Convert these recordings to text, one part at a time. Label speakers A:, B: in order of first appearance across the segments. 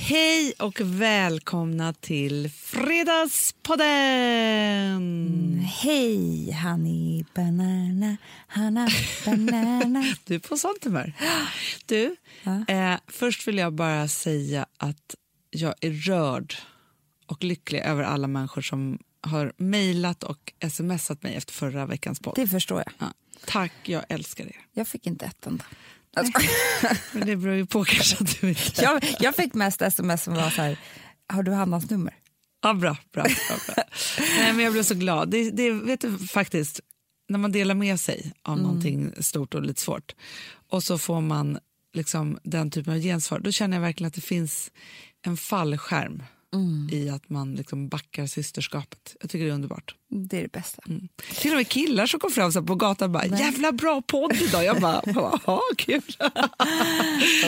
A: Hej och välkomna till Fredagspodden!
B: Hej, Honey Banana, Hanna Banana.
A: Du är på sånt humör. Du,
B: Ja.
A: eh, först vill jag bara säga att jag är rörd och lycklig över alla människor som har mejlat och smsat mig efter förra veckans podd.
B: Det förstår jag.
A: Ja. Tack, jag älskar er.
B: Jag fick inte ett enda. Alltså,
A: Men det beror ju på kanske att du inte...
B: jag, jag fick mest sms som var så här, har du Hannas nummer?
A: Ja, bra, bra, bra, bra. Nej, men jag blev så glad. Det, det, vet du, faktiskt, när man delar med sig av någonting stort och lite svårt och så får man liksom den typen av gensvar, då känner jag verkligen att det finns en fallskärm i att man liksom backar systerskapet. Jag tycker det är underbart.
B: Det är det bästa.
A: Till och med killar som kom fram så här på gatan och bara “jävla bra podd idag”. Jag bara “jaha, kul”.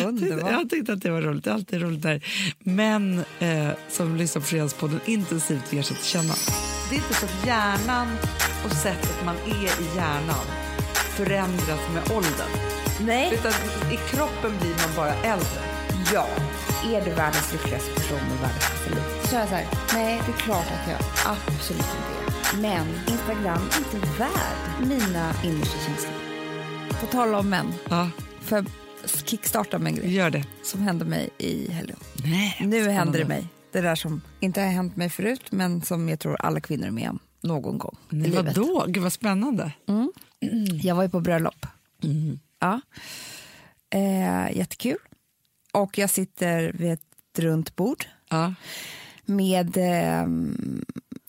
B: Underbart.
A: Jag tyckte att det var roligt. Det är alltid roligt när män eh, som lyssnar på Fredagspodden intensivt ger sig till känna. Det är inte så att hjärnan och sättet man är i hjärnan förändras med åldern.
B: Nej.
A: Utan i kroppen blir man bara äldre.
B: Ja. Är du världens lyckligaste person och världens bästa liv? Så jag så här, nej det är klart att jag absolut inte är. Men Instagram är inte värd mina innersta känslor. På tal om män,
A: Ja,
B: för kickstarta med en grej
A: gör det.
B: som hände mig i helgen.
A: Nej,
B: Nu händer det mig. Det där som inte har hänt mig förut men som jag tror alla kvinnor är med om någon gång i
A: Nej,
B: livet.
A: vadå? Gud vad spännande.
B: Jag var ju på bröllop. Ja. Eh, jättekul. Och jag sitter vid ett runt bord
A: Ja.
B: med, eh,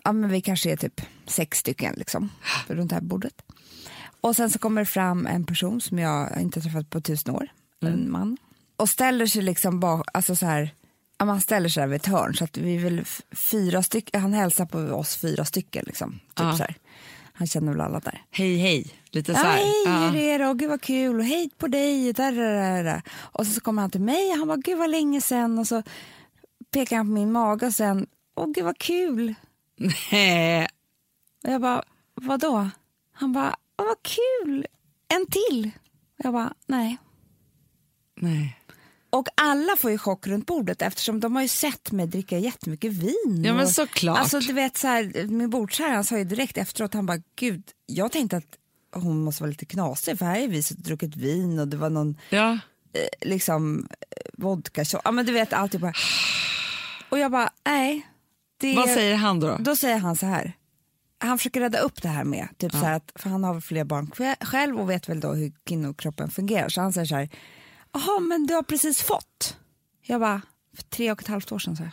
B: ja men vi kanske är typ sex stycken liksom, runt det här bordet. Och sen så kommer det fram en person som jag inte har träffat på tusen år, en man. Och ställer sig liksom bak, alltså så här, ja man ställer sig där vid ett hörn så att vi är väl f- fyra stycken, han hälsar på oss fyra stycken liksom. Typ
A: Ja.
B: så här. Han känner väl alla där.
A: Hej, hej. Lite så
B: Ja,
A: här.
B: hej,
A: Ja.
B: hur är det? Och gud vad kul. Och hej på dig. Där, där, där, där. Och så, så kommer han till mig och han bara, gud vad länge sen. Och så pekar han på min mage och sen, åh gud vad kul.
A: Nej.
B: Och jag bara, vadå? Han bara, åh vad kul. En till. Och jag bara, nej.
A: Nej.
B: Och alla får ju chock runt bordet eftersom de har ju sett mig dricka jättemycket vin.
A: Ja, men
B: och,
A: såklart.
B: Alltså du vet så här, min bordsherre han sa ju direkt efteråt, han bara gud, jag tänkte att hon måste vara lite knasig för här är vi så druckit vin och det var någon
A: Ja.
B: eh, liksom eh, vodka shot. ja men du vet allt bara. Och jag bara nej. Det
A: Vad säger han då?
B: Då säger han så här. Han försöker rädda upp det här med, typ så här att, för han har väl fler barn kve- själv och vet väl då hur kvinnokroppen fungerar. Så han säger så här, jaha men du har precis fått. Jag bara, för tre och ett halvt år sedan så.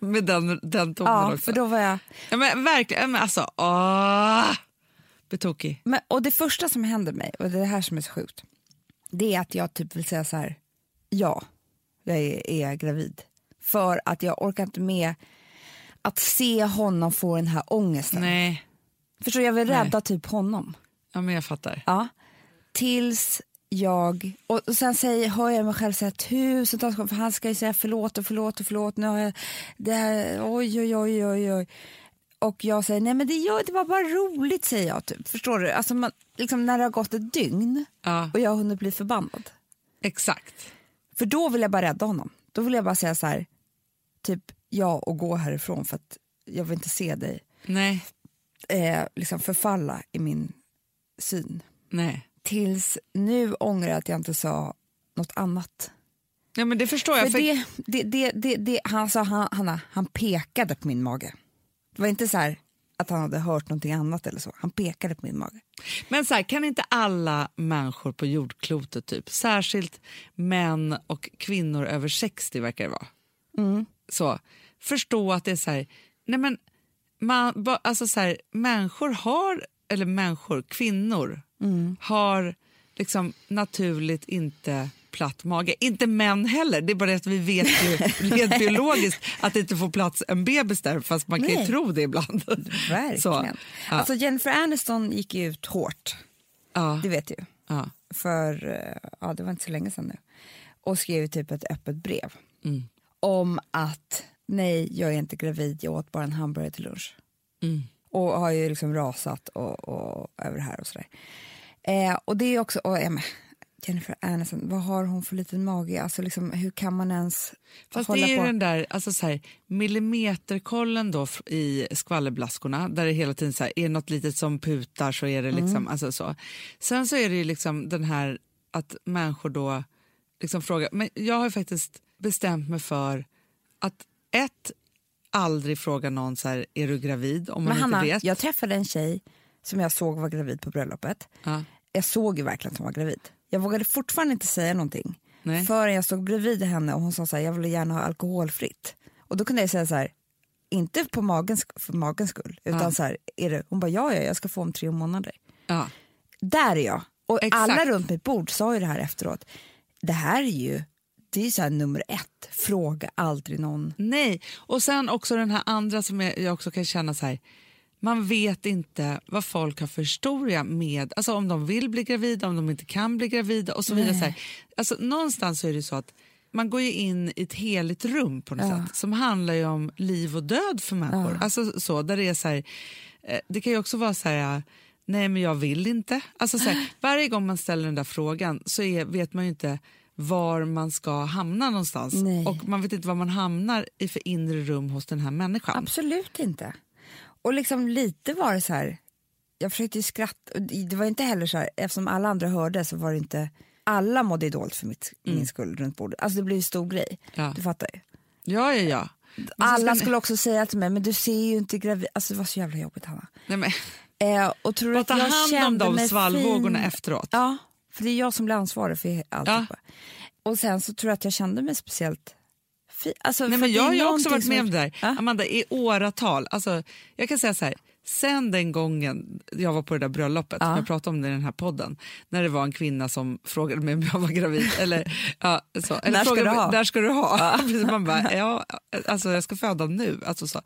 A: Med den, den tonen
B: Ja,
A: också.
B: för då var jag,
A: Ja, men verkligen. Ja, Men alltså, åh! Blir tokig.
B: men, och det första som händer mig, och det är det här som är så sjukt, det är att jag typ vill säga så här, ja, jag är, är gravid. För att jag orkar inte med att se honom få den här ångesten.
A: Nej,
B: Förstår du, jag vill rädda typ honom.
A: ja, men jag fattar.
B: Ja. Tills jag, och och sen säger, hör jag mig själv säga tusentals gånger, för han ska ju säga förlåt och förlåt och förlåt, nu har jag, det här, oj oj oj oj oj. Och jag säger, nej men det, gör, det var bara roligt säger jag typ, förstår du? Alltså man, liksom när det har gått ett dygn
A: Ja,
B: och jag har hunnit bli förbannad.
A: exakt.
B: För då vill jag bara rädda honom. Då vill jag bara säga så här, typ ja och gå härifrån för att jag vill inte se dig
A: Nej,
B: eh, liksom förfalla i min syn.
A: nej.
B: Tills nu ångrar jag att jag inte sa något annat.
A: Ja, men det förstår jag. För
B: För det, det, det, det, det, han sa, han, Hanna, han pekade på min mage. Det var inte så här att han hade hört någonting annat eller så. Han pekade på min mage.
A: Men så här, kan inte alla människor på jordklotet, typ, särskilt män och kvinnor över 60 verkar det vara, så, förstå att det är så här, nej men, man, ba, alltså så här, människor har, eller människor, kvinnor har liksom naturligt inte platt mage. Inte män heller, det är bara det att vi vet ju rent biologiskt att det inte får plats en bebis där, fast man kan ju
B: Nej.
A: tro det ibland.
B: Verkligen.
A: Så, ja,
B: Alltså Jennifer Aniston gick ju ut hårt,
A: ja,
B: det vet du ju.
A: ja,
B: För, eh, ja det var inte så länge sedan nu. Och skrev typ ett öppet brev.
A: Mm.
B: Om att, nej jag är inte gravid, jag åt bara en hamburgare till lunch.
A: mm.
B: och har ju liksom rasat och, och, över det här och sådär. Eh, och det är ju också, och, ja, men, Jennifer Aniston, vad har hon för liten mage? Alltså liksom, hur kan man ens
A: Fast
B: hålla
A: det är
B: på?
A: ju den där alltså så här, millimeterkollen då f- i skvallerblaskorna där det hela tiden så här, är det något litet som putar så är det
B: Mm.
A: liksom alltså så. Sen så är det ju liksom den här att människor då liksom frågar, men jag har ju faktiskt bestämt mig för att ett, aldrig fråga någon så här, är du gravid om man
B: Men
A: inte
B: Hanna,
A: vet.
B: jag träffade en tjej som jag såg var gravid på bröllopet.
A: Ja.
B: Jag såg ju verkligen att hon var gravid. Jag vågade fortfarande inte säga någonting
A: Nej.
B: förrän jag stod bredvid henne och hon sa så här, jag ville gärna ha alkoholfritt. Och då kunde jag säga så här, inte på magens, för magens skull, utan
A: Ja.
B: så här, är det, hon bara ja, ja, jag ska få om tre månader.
A: Ja.
B: Där är jag. Och
A: Exakt.
B: alla runt mitt bord sa ju det här efteråt. Det här är ju, det är ju så här nummer ett, fråga aldrig någon.
A: Nej, och sen också den här andra som jag, jag också kan känna så här. Man vet inte vad folk har för historia med, alltså om de vill bli gravida, om de inte kan bli gravida och så vidare. Så här. Alltså, någonstans så är det ju så att man går ju in i ett heligt rum på något sätt som handlar ju om liv och död för människor. Alltså så, där det är så här, eh, det kan ju också vara så här, eh, nej men jag vill inte. Alltså så här, varje gång man ställer den där frågan så är, vet man ju inte var man ska hamna någonstans.
B: Nej.
A: Och man vet inte var man hamnar i för inre rum hos den här människan.
B: Absolut inte. Och liksom lite var det så här, jag försökte ju skratta, och det var inte heller så här, eftersom alla andra hörde så var det inte, alla mådde ju dåligt för mitt, min skull runt bordet. Alltså det blev ju stor grej,
A: Mm. Ja.
B: du fattar ju.
A: Ja, ja, ja. Men så ska
B: Alla
A: ni-
B: skulle också säga till mig, men du ser ju inte gravid, alltså det var så jävla jobbigt Hanna.
A: Nej, men,
B: Eh, och tror du
A: bara
B: att
A: ta
B: jag
A: hand om
B: kände
A: de
B: mig
A: svallvågorna
B: fin?
A: efteråt.
B: Ja, för det är jag som blir ansvarig för allt.
A: Ja.
B: Och sen så tror jag att jag kände mig speciellt fin. Alltså,
A: Nej,
B: för
A: men
B: det
A: jag
B: är
A: har ju också
B: någonting
A: varit
B: som
A: med
B: jag-
A: om det där.
B: Ja.
A: Amanda, i åratal. Alltså, jag kan säga så här, sen den gången jag var på det där bröllopet,
B: Ja.
A: jag pratade om det i den här podden, när det var en kvinna som frågade mig om jag var gravid. Eller, ja, så. eller
B: När ska
A: frågade
B: du
A: mig,
B: ha?
A: När ska du ha? Precis, Man bara, ja, alltså, jag ska föda nu. Alltså, så.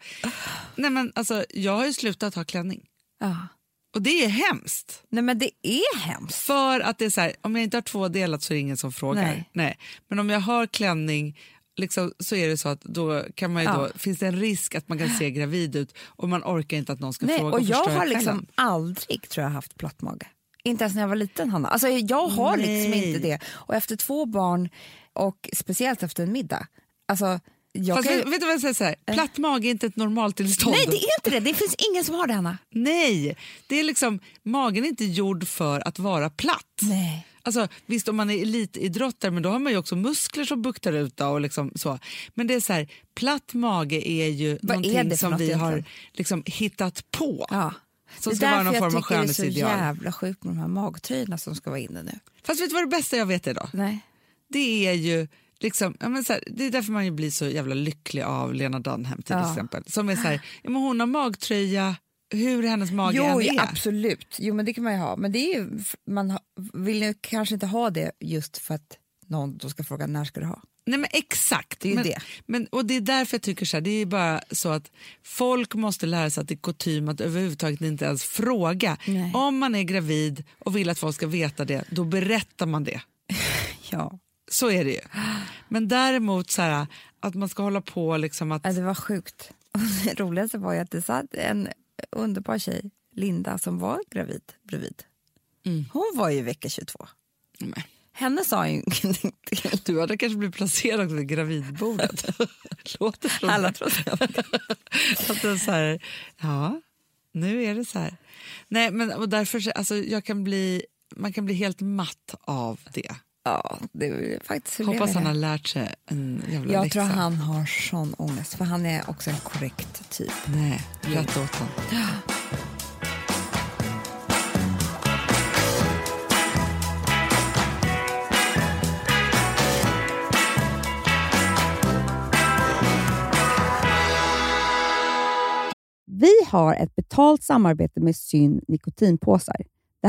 A: Nej, men, alltså, jag har ju slutat ha klänning.
B: Ja.
A: Och det är hemskt.
B: Nej men det är hemskt.
A: För att det är så här, om jag inte har tvådelat så är det ingen som frågar. Nej.
B: Nej.
A: Men om jag har klänning liksom, så är det så att då, kan man ju
B: Ja.
A: då finns det en risk att man kan se gravid ut och man orkar inte att någon ska
B: Nej,
A: fråga
B: och jag
A: förstöra
B: har liksom
A: kvällen.
B: aldrig tror jag haft platt mage. Inte ens när jag var liten Hanna. Alltså, jag har liksom
A: Nej.
B: inte det. Och efter två barn och speciellt efter en middag. Alltså, jag
A: Fast
B: kan ju... Eh.
A: vet, vet du vad jag säger? Så här, platt mage är inte ett normaltillstånd.
B: Nej det är inte det, det finns ingen som har det Hanna.
A: Nej, det är liksom, magen är inte gjord för att vara platt.
B: Nej.
A: Alltså, visst, om man är elitidrottare, men då har man ju också muskler som buktar ut. då Och liksom så. Men det är så här, platt mage är ju
B: Vad är
A: någonting
B: det för
A: som
B: något
A: vi har
B: egentligen?
A: liksom hittat på.
B: Ja.
A: Som
B: det
A: ska
B: är
A: vara
B: därför
A: någon
B: jag
A: form av
B: tycker det är så
A: skönhetsideal.
B: jävla sjukt med de här magtröjorna som ska vara inne nu.
A: Fast vet du vad det bästa jag vet är då?
B: Nej.
A: Det är ju liksom, ja, men så här, det är därför man ju blir så jävla lycklig av Lena Dunham till
B: Ja.
A: exempel. Som är så här, ja, men hon har magtröja, hur hennes mage
B: Jo,
A: än är.
B: ja, absolut. Jo, men det kan man ju ha. Men det är ju, man ha- vill ju kanske inte ha det just för att någon då ska fråga när ska du ha.
A: Nej men exakt.
B: Det är ju
A: men,
B: det.
A: Men, och det är därför jag tycker så här, det är ju bara så att folk måste lära sig att det är kutym att överhuvudtaget inte ens fråga.
B: Nej.
A: Om man är gravid och vill att folk ska veta det, då berättar man det.
B: Ja.
A: Så är det ju. Men däremot så här, att man ska hålla på liksom att...
B: Ja, det var sjukt. Och det roligaste var ju att det satt en underbar tjej, Linda, som var gravid bredvid.
A: Mm.
B: Hon var ju vecka 22.
A: Nej.
B: Henne sa ju ingenting till.
A: Du hade kanske blivit placerad vid gravidbordet. Låter som
B: Alla trodde jag var
A: att det är så här, ja, nu är det så här. Nej, men och därför så- alltså, jag kan bli, man kan bli helt matt av det.
B: Ja, det är faktiskt hur
A: Hoppas
B: blev
A: han
B: det?
A: har lärt sig en jävla
B: Jag
A: läxa.
B: tror han har sån ångest, för han är också en korrekt typ.
A: Nej, rätt åt han.
C: Vi har ett betalt samarbete med Syn nikotinpåsar. Det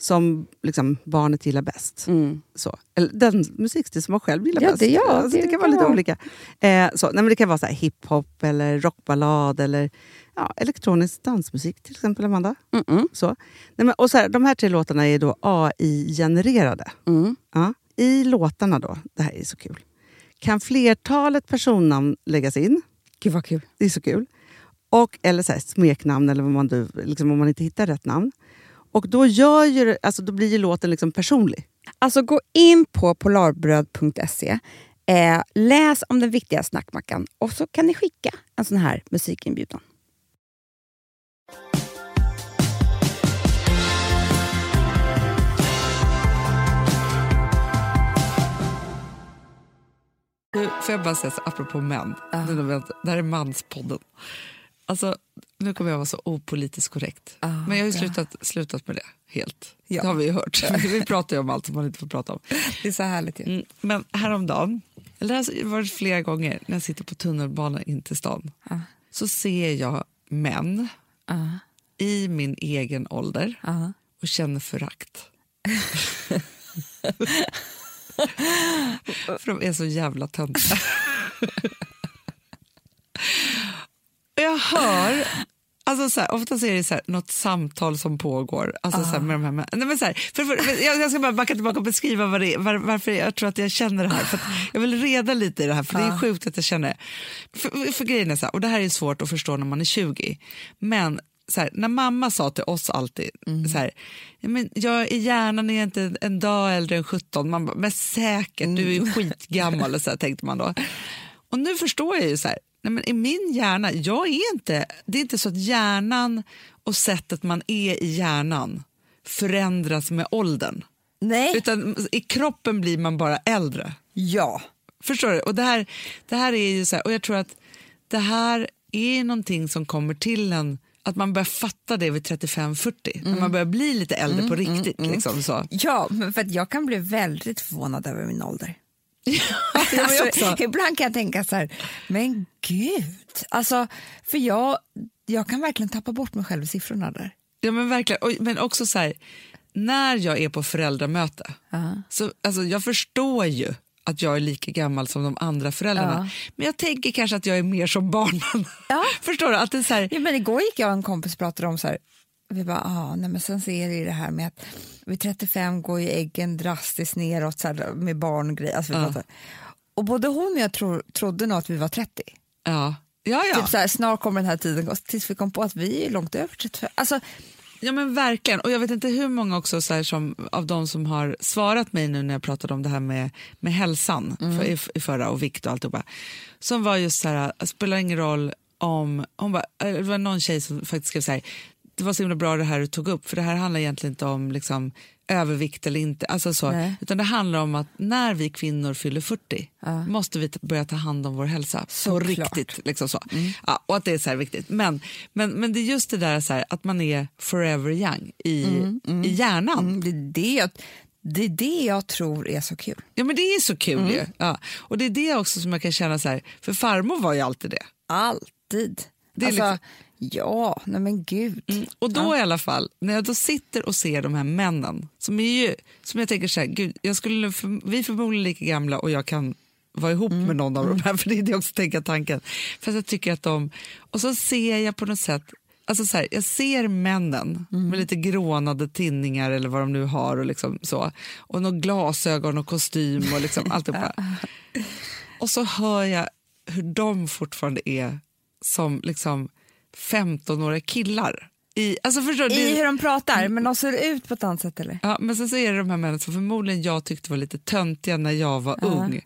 D: som liksom, barnet gillar bäst. Så. Eller den musikstil som man själv gillar
B: Mm. Ja,
D: bäst.
B: det- ja,
D: alltså, det,
B: det
D: kan
B: kan
D: vara lite
B: vara.
D: olika. Eh, så. Nej, men det kan vara så här hiphop, eller rockballad eller ja, elektronisk dansmusik till exempel, Amanda. Så. Nej, men, och så här, de här tre låtarna är då AI-genererade. Ja. I låtarna då, det här är så kul, kan flertalet personnamn läggas in.
B: Gud vad kul.
D: Det är så kul. Och, eller så här, smeknamn, eller vad man, du- liksom, om man inte hittar rätt namn. Och då, gör ju, det- alltså, då blir ju låten liksom personlig.
B: Alltså gå in på polarbröd.se, eh, läs om den viktiga snackmackan och så kan ni skicka en sån här musikinbjudan.
A: Du, får jag bara säga så, apropå män. Nu, när vi har- det här är manspodden. Alltså, nu kommer jag vara så opolitiskt korrekt. men jag har ju slutat, slutat med det helt. Det har vi ju hört. vi pratar ju om allt som man inte får prata om.
E: Det är så härligt ju.
A: Mm, men häromdagen, eller det har varit flera gånger när jag sitter på tunnelbanan in till stan, så ser jag män i min egen ålder och känner förakt. För de är så jävla töntiga. Och jag hör Alltså så här, oftast är det så här, något samtal som pågår. Alltså så här, med de här, män- nej, men så här, för, för, för, jag, jag ska bara backa tillbaka och beskriva vad det är, var, varför jag tror att jag känner det här. För att jag vill reda lite i det här, för det är sjukt att jag känner det. För, för grejen är så här, och det här är svårt att förstå när man är 20, men så här, när mamma sa till oss alltid så här, "Ja, men jag är hjärnan är inte en dag äldre än 17, man bara, men säkert, du är ju skitgammal, och så här, tänkte man då. Och nu förstår jag ju så här, nej men i min hjärna, jag är inte, det är inte så att hjärnan och sättet man är i hjärnan förändras med åldern,
B: Nej.
A: utan i kroppen blir man bara äldre.
B: Ja.
A: Förstår du? Och det här, det här är ju så här, och jag tror att det här är någonting som kommer till en att man börjar fatta det vid 35-40, när man börjar bli lite äldre på riktigt. Liksom, så.
B: Ja, men för att jag kan bli väldigt förvånad över min ålder.
A: men jag också.
B: alltså, ibland kan jag tänka så här, men gud. Alltså, för jag, jag kan verkligen tappa bort mig själv i siffrorna där.
A: Ja, men verkligen. Och, men också så här, när jag är på föräldramöte, så, alltså, jag förstår ju att jag är lika gammal som de andra föräldrarna. Men jag tänker kanske att jag är mer som barnen.
B: Ja.
A: Förstår du? Att det är så här,
B: Ja, men igår gick jag och en kompis och pratade om så här, vi bara, ah, nej men sen ser det ju det här med att vid 35 går ju äggen drastiskt neråt så här, med barn och grejer. Alltså, vi pratar- Och både hon och jag tro, trodde nog att vi var 30.
A: ja, ja, ja.
B: Typ så här, snart kommer den här tiden gå, tills vi kom på att vi är långt över 35. Alltså,
A: Ja men verkligen, och jag vet inte hur många också så här som, av de som har svarat mig nu när jag pratade om det här med, med hälsan
B: Mm.
A: för, i, i förra och vikt och alltihopa, som var just så här, det spelar ingen roll om, hon bara, eh, det var någon tjej som faktiskt skrev så här, det var så himla bra det här du tog upp, för det här handlar egentligen inte om liksom, övervikt eller inte, alltså så,
B: Nej.
A: utan det handlar om att när vi kvinnor fyller 40 måste vi t- börja ta hand om vår hälsa på
B: Såklart.
A: riktigt viktigt. Liksom så.
B: Mm.
A: Ja, och att det är så här viktigt. Men, men, men det är just det där så här, att man är forever young i, i hjärnan.
B: Mm, Det är det, jag, det är det jag tror är så kul.
A: Ja, men det är så kul
B: Mm.
A: ju. Ja. Och det är det också som jag kan känna så här, för farmor var ju alltid det.
B: Alltid.
A: Det är
B: alltså,
A: liksom- Mm,
B: Ja, nej men gud.
A: Och då i alla fall, när jag då sitter och ser de här männen som är ju, som jag tänker så här, gud, jag skulle, för- vi är förmodligen lika gamla och jag kan vara ihop med någon av de här, för det är det jag också tänker tanken. Fast jag tycker att de, och så ser jag på något sätt, alltså så här, jag ser männen med lite grånade tinningar eller vad de nu har och liksom så, och några glasögon och kostym och liksom alltihopa. Och så hör jag hur de fortfarande är som liksom 15-åriga killar. I, alltså förstår du,
B: I
A: det, Mm.
B: hur de pratar, men de ser ut på ett annat sätt eller?
A: ja, men sen så är det de här männen som förmodligen jag tyckte var lite töntiga när jag var ung,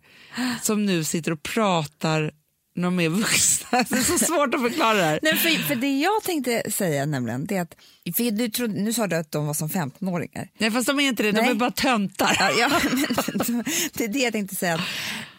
A: som nu sitter och pratar när de är vuxna. Det är så svårt att förklara det här.
B: Nej, för, för det jag tänkte säga nämligen, det är att, för du trodde, nu sa du att de var som 15-åringar.
A: Nej, fast de är inte det, de
B: Nej.
A: är bara töntar.
B: Ja, ja, men, det är det jag tänkte säga, att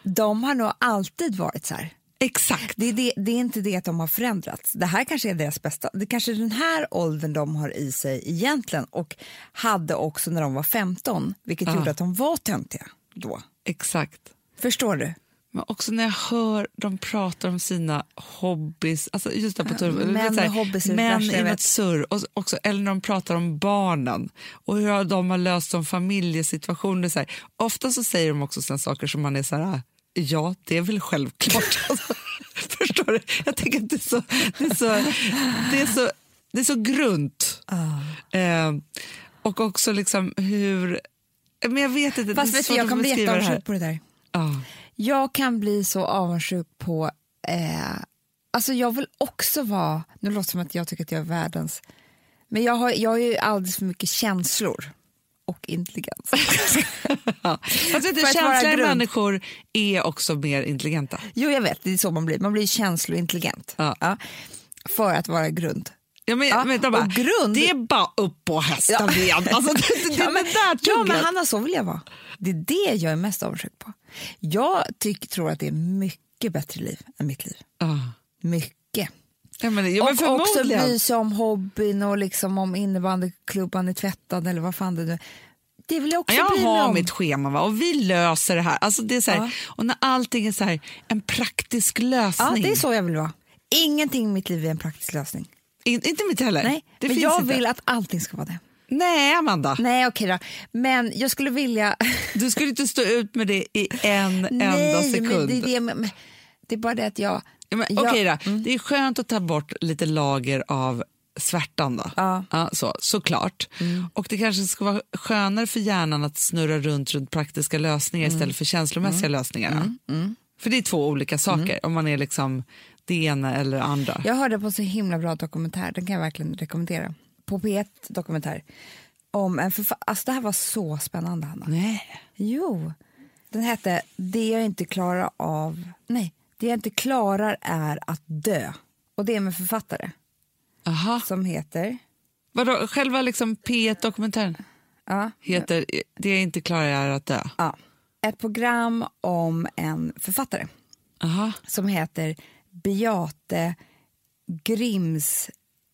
B: de har nog alltid varit så här.
A: Exakt.
B: Det är, det, det är inte det att de har förändrats. Det här kanske är deras bästa. Det kanske är den här åldern de har i sig egentligen och hade också när de var 15, vilket gjorde att de var töntiga då.
A: Exakt.
B: Förstår du?
A: Men också när jag hör dem prata om sina hobbys, alltså just det här på tur,
B: män
A: vet så här,
B: och hobbys är det
A: män
B: värsta jag
A: i något
B: vet.
A: surr, och så- också, eller när de pratar om barnen och hur de har löst som familjesituationer. Så här. Ofta så säger de också såna saker som man är så här, "Ah, ja det är väl självklart. Alltså, Förstår du? Jag tänker att det är så, det är så, det är så, det är så grunt.
B: Ah.
A: Eh, och också liksom hur, men jag vet inte,
B: Fast
A: det är
B: vet
A: svårt
B: du, jag
A: att
B: kan bli
A: beskriva det här.
B: jätteavundsjuk på det där.
A: Ja.
B: Jag kan bli så avundsjuk på... Eh, alltså jag vill också vara... Nu låter det som att jag tycker att jag är världens... Men jag har, jag har ju alldeles för mycket känslor och intelligens.
A: Fast vet du,
B: För att vara
A: känsliga
B: grund.
A: människor är också mer intelligenta.
B: jo, jag vet, det är så man blir. Man blir känslointelligent.
A: Ja.
B: För att vara grund.
A: Ja, men,
B: Ja,
A: men de bara,
B: och grund-
A: Det är bara upp på hästen
B: Ja.
A: igen. Alltså, det, det,
B: ja, men,
A: det där
B: ja, men
A: tugget.
B: Hanna, så vill jag vara. Det är det jag är mest avundsjuk på. Jag tyck, tror att det är mycket bättre liv än mitt liv.
A: Ja.
B: Mycket.
A: Ja, men, ja, men
B: och också
A: förmodligen.
B: bry sig om hobbyn och liksom om innebandyklubban är tvättad eller vad fan det nu Det vill jag också
A: jag
B: bry mig
A: har
B: om.
A: mitt schema va? och vi löser det här. Alltså, det är så här
B: Ja.
A: Och när allting är så här, en praktisk lösning.
B: ja, det är så jag vill vara. Ingenting i mitt liv är en praktisk lösning.
A: In, inte mitt heller.
B: Nej,
A: det
B: men
A: finns
B: jag
A: inte.
B: vill att allting ska vara det.
A: Nej, Amanda.
B: Nej, okej då. Men jag skulle vilja...
A: Du skulle inte stå ut med det i en enda
B: Nej,
A: sekund.
B: men det, är det, men, det är bara det att jag...
A: Ja, men,
B: jag
A: okej då. Det är skönt att ta bort lite lager av svärtan då.
B: Ja. Mm.
A: så, såklart. Och det kanske ska vara skönare för hjärnan att snurra runt runt praktiska lösningar
B: Mm.
A: istället för känslomässiga lösningar. då. För det är två olika saker,
B: Mm.
A: om man är liksom det ena eller det andra.
B: Jag hörde på så himla bra dokumentär, den kan jag verkligen rekommendera. På P1 Dokumentär. Om en förfa- alltså det här var så spännande, Hanna.
A: Nej.
B: Jo, den hette Det jag inte klarar av... Nej, Det jag inte klarar är att dö. Och det är med författare
A: Aha.
B: som heter...
A: Vadå, själva liksom P1-dokumentären
B: Ja,
A: heter Det jag inte klarar är att dö.
B: ja, ett program om en författare
A: Aha.
B: som heter Beate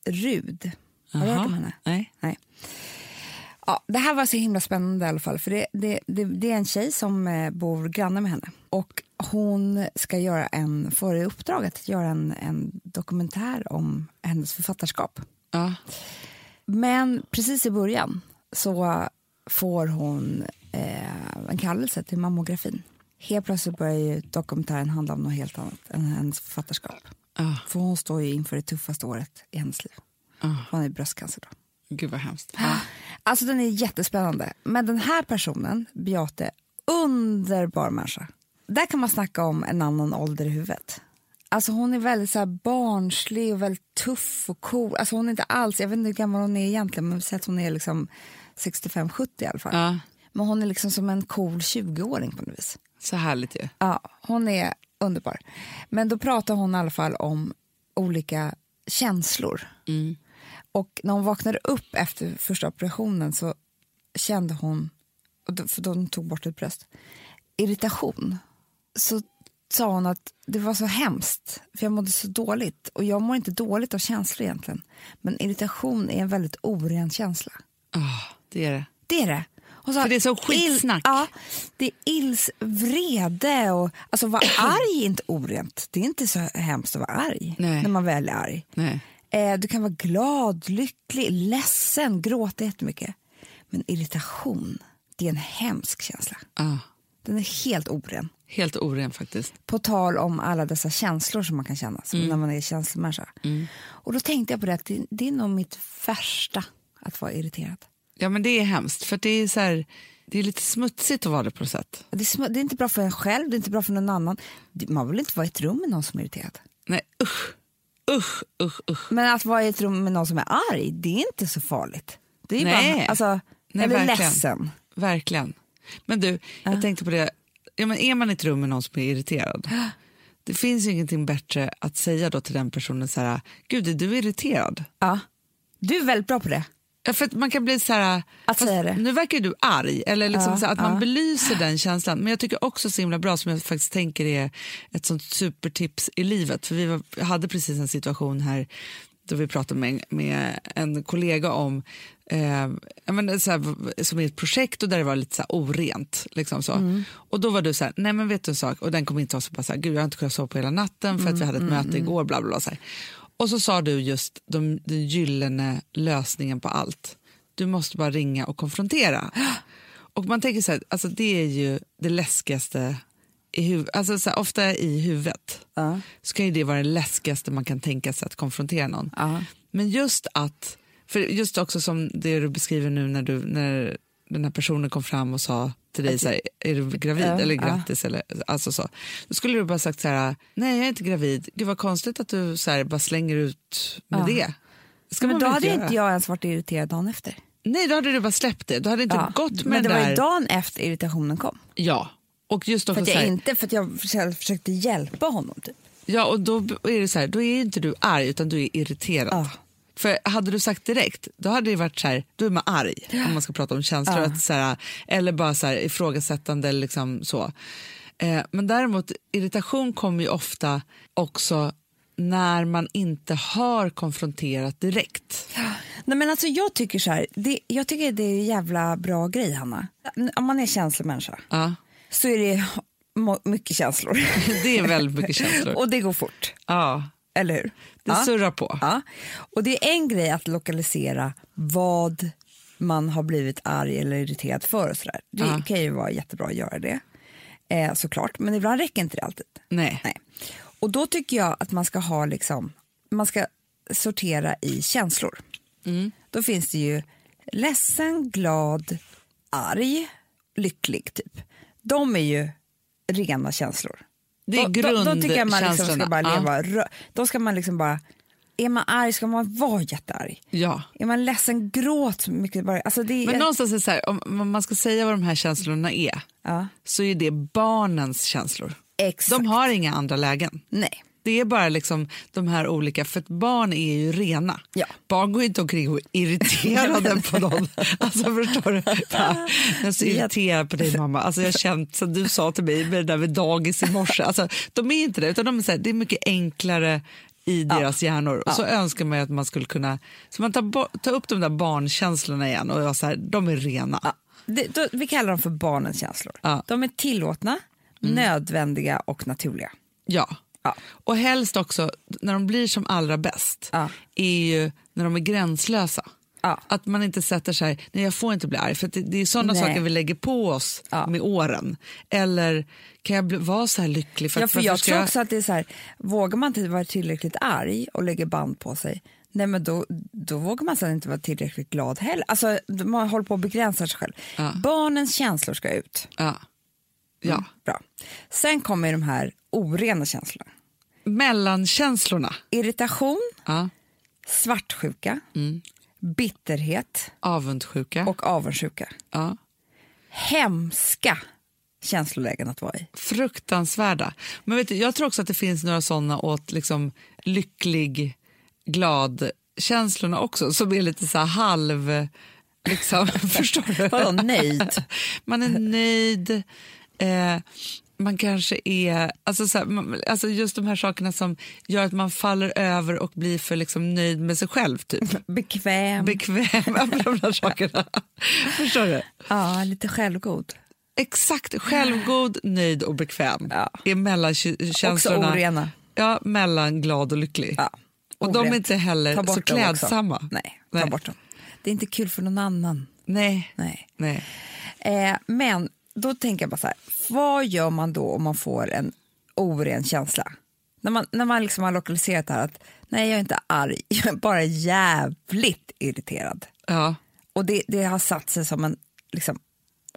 B: Grimsrud. Har du hört om henne?
A: Nej.
B: Nej. Ja, det här var så himla spännande i alla fall. För det, det, det, det är en tjej som eh, bor granne med henne. Och hon ska göra en, får i uppdrag att göra en, en dokumentär om hennes författarskap.
A: Ja.
B: Men precis i början så får hon eh, en kallelse till mammografin. Helt plötsligt börjar ju dokumentären handla om något helt annat än hennes författarskap.
A: Ah.
B: För hon står ju inför det tuffaste året i hennes liv.
A: Ah.
B: Hon har ju bröstcancer då.
A: Gud vad hemskt.
B: Alltså den är jättespännande. Men den här personen, Beate, underbar människa. Där kan man snacka om en annan ålder i huvudet. Alltså hon är väldigt så här barnslig och väldigt tuff och cool. Alltså hon är inte alls, jag vet inte hur gammal hon är egentligen, men säg att hon är liksom 65-70 i alla fall.
A: Ja.
B: Men hon är liksom som en cool 20-åring på något vis.
A: Så härligt ju.
B: Ja, hon är underbar. Men då pratar hon i alla fall om olika känslor. Och när hon vaknade upp efter första operationen så kände hon, och då- för de tog bort ett bröst, irritation. Så sa hon att det var så hemskt, för jag mådde så dåligt. Och jag mår inte dåligt av känslor egentligen. Men irritation är en väldigt oren känsla.
A: Ah, det är det.
B: Det är det. Hon sa,
A: För det är så skitsnack.
B: ja, det är ils, vrede och... Alltså vara arg är inte orent. Det är inte så hemskt att vara arg
A: Nej.
B: när man väl är arg.
A: Nej.
B: Eh, du kan vara glad, lycklig, ledsen, gråta jättemycket. Men irritation, det är en hemsk känsla.
A: Ah.
B: Den är helt oren.
A: Helt oren faktiskt.
B: På tal om alla dessa känslor som man kan känna
A: Mm.
B: som när man är känslomänniska. Och då tänkte jag på det att det, det är nog mitt värsta att vara irriterad.
A: Ja men det är hemskt för det är så här, det är lite smutsigt att vara det på något sätt.
B: Det är, sm- det är inte bra för en själv, det är inte bra för någon annan. Det- Man vill inte vara i ett rum med någon som är irriterad.
A: Nej usch, usch, usch, usch.
B: Men att vara i ett rum med någon som är arg, det är inte så farligt. Det är
A: Nej.
B: bara, alltså,
A: Nej,
B: eller
A: verkligen.
B: ledsen.
A: Verkligen. Men du, jag tänkte på det, ja, men är man i ett rum med någon som är irriterad det finns ju ingenting bättre att säga då till den personen så här, gud är du irriterad?
B: Ja. Du är väldigt bra på det.
A: Ja, för att man kan bli så här...
B: Att
A: fast
B: säga det.
A: Nu verkar ju du arg. Eller liksom
B: Ja,
A: så här, att man
B: ja.
A: belyser den känslan. Men jag tycker också så himla bra, som jag faktiskt tänker är ett sånt supertips i livet. För vi var, hade precis en situation här då vi pratade med, med en kollega om eh, jag menar, så här, som är ett projekt och där det var lite så här orent. Liksom så. Och då var du så här, nej men vet du en sak, och den kom in till oss och bara så här, gud jag har inte kunnat sova på hela natten för att vi hade ett möte igår, bla bla bla. Så här. Och så sa du just de, den gyllene lösningen på allt. Du måste bara ringa och konfrontera. Och man tänker så här, alltså det är ju det läskigaste i huvudet. Alltså så här, ofta i huvudet så kan ju det vara det läskigaste man kan tänka sig att konfrontera någon. Men just att, för just också som det du beskriver nu när, du, när den här personen kom fram och sa till dig så här, är du gravid
B: Ja,
A: eller
B: ja.
A: grattis eller alltså så. Då skulle du bara sagt så här, nej jag är inte gravid, gud vad konstigt att du så här bara slänger ut med
B: Ja.
A: det. Ska
B: men
A: man
B: då
A: väl
B: hade
A: göra?
B: inte jag ens varit irriterad dagen efter.
A: Nej, då hade du bara släppt det. Då hade det inte
B: Ja.
A: gått med
B: Men det
A: den där...
B: var ju dagen efter irritationen kom.
A: Ja. Och just då
B: För att
A: så
B: jag,
A: här,
B: inte, för att jag själv försökte hjälpa honom. Typ.
A: ja, och då är det så här, då är ju inte du arg utan du är irriterad.
B: Ja.
A: För hade du sagt direkt, då hade det varit så här, då är man arg om man ska prata om känslor. Att så här, eller bara så här, ifrågasättande eller liksom så. Eh, men däremot, irritation kommer ju ofta också när man inte har konfronterat direkt.
B: Nej, men alltså, jag tycker så här, det, jag tycker det är en jävla bra grej, Hanna. Om man är känslomänniska
A: Ja,
B: så är det mo- mycket känslor.
A: det är väldigt mycket känslor.
B: Och det går fort,
A: Ja,
B: eller hur?
A: det
B: Ja.
A: surrar på.
B: Ja. Och det är en grej att lokalisera vad man har blivit arg eller irriterad för och sådär. Det
A: Ja.
B: kan ju vara jättebra att göra det, eh, såklart. Men ibland räcker inte det alltid.
A: Nej.
B: Nej. Och då tycker jag att man ska ha liksom, man ska sortera i känslor.
A: Mm.
B: Då finns det ju ledsen, glad, arg, lycklig typ. De är ju rena känslor.
A: Det är
B: Då- då, då tycker jag man liksom ska
A: grundkänslorna.
B: bara
A: Ja.
B: leva. rö- Då ska man liksom bara, är man arg ska man vara jättearg.
A: Ja.
B: Är man ledsen, gråt mycket bara. Alltså det är,
A: Men någonstans är det så här, om om man ska säga vad de här känslorna är,
B: ja,
A: så är det barnens känslor.
B: exakt.
A: De har inga andra lägen.
B: Nej.
A: Det är bara liksom de här olika, för att barn är ju rena.
B: Ja.
A: Barn går ju inte omkring och är irriterade på någon. Alltså förstår du? Bara, Jag är så irriterad på dig mamma. Alltså jag har känt som du sa till mig med det där med dagis i morse. Alltså, de är inte det, utan de är så här, det är mycket enklare i deras hjärnor. Och så önskar man ju att man skulle kunna, så man tar, bo- tar upp de där barnkänslorna igen och jag så här, de är rena.
B: Ja, det, då, vi kallar dem för barnens känslor.
A: Ja. Mm.
B: De är tillåtna, nödvändiga och naturliga.
A: Ja.
B: Ja.
A: Och helst också, när de blir som allra bäst,
B: Ja.
A: är ju när de är gränslösa.
B: Ja.
A: Att man inte sätter sig nej jag får inte bli arg, för att det, det är sådana
B: Nej.
A: saker vi lägger på oss
B: Ja.
A: med åren. Eller kan jag bli, vara så här lycklig? För
B: Ja,
A: att,
B: för
A: varför
B: jag
A: ska
B: tror också att det är så här, vågar man inte vara tillräckligt arg och lägger band på sig, nej men då, då vågar man sen inte vara tillräckligt glad heller. Alltså man håller på att begränsa sig själv.
A: Ja.
B: Barnens känslor ska ut.
A: Ja. Ja.
B: Mm, Bra. Sen kommer ju de här orena känslorna.
A: Mellankänslorna,
B: Irritation,
A: ja.
B: svartsjuka,
A: Mm.
B: bitterhet
A: avundsjuka,
B: och avundsjuka.
A: ja.
B: Hemska känslolägen att vara i.
A: fruktansvärda. Men vet du, jag tror också att det finns några sådana åt liksom lycklig, glad känslorna också, som är lite så här halv... Liksom, förstår du?
B: Vadå nöjd?
A: Man är nöjd. Eh, man kanske är... Alltså, så här, man, alltså Just de här sakerna som gör att man faller över och blir för liksom, nöjd med sig själv. Typ.
B: Bekväm.
A: Bekväm. alla de där sakerna. Förstår du?
B: ja, lite självgod.
A: Exakt. Självgod, nöjd och bekväm
B: Ja.
A: är
B: Också
A: mellankänslorna.
B: orena.
A: Ja, mellan glad och lycklig.
B: Ja.
A: Och de är
B: orent.
A: inte heller
B: Ta bort
A: så
B: dem också.
A: klädsamma.
B: Nej, ta
A: Nej.
B: bort dem. Det är inte kul för någon annan.
A: Nej.
B: Nej.
A: Nej.
B: Eh, men då tänker jag bara så här, vad gör man då om man får en oren känsla? När man, när man liksom har lokaliserat det här att nej, jag är inte arg, jag är bara jävligt irriterad.
A: Ja,
B: Och det, det har satt sig som en, liksom,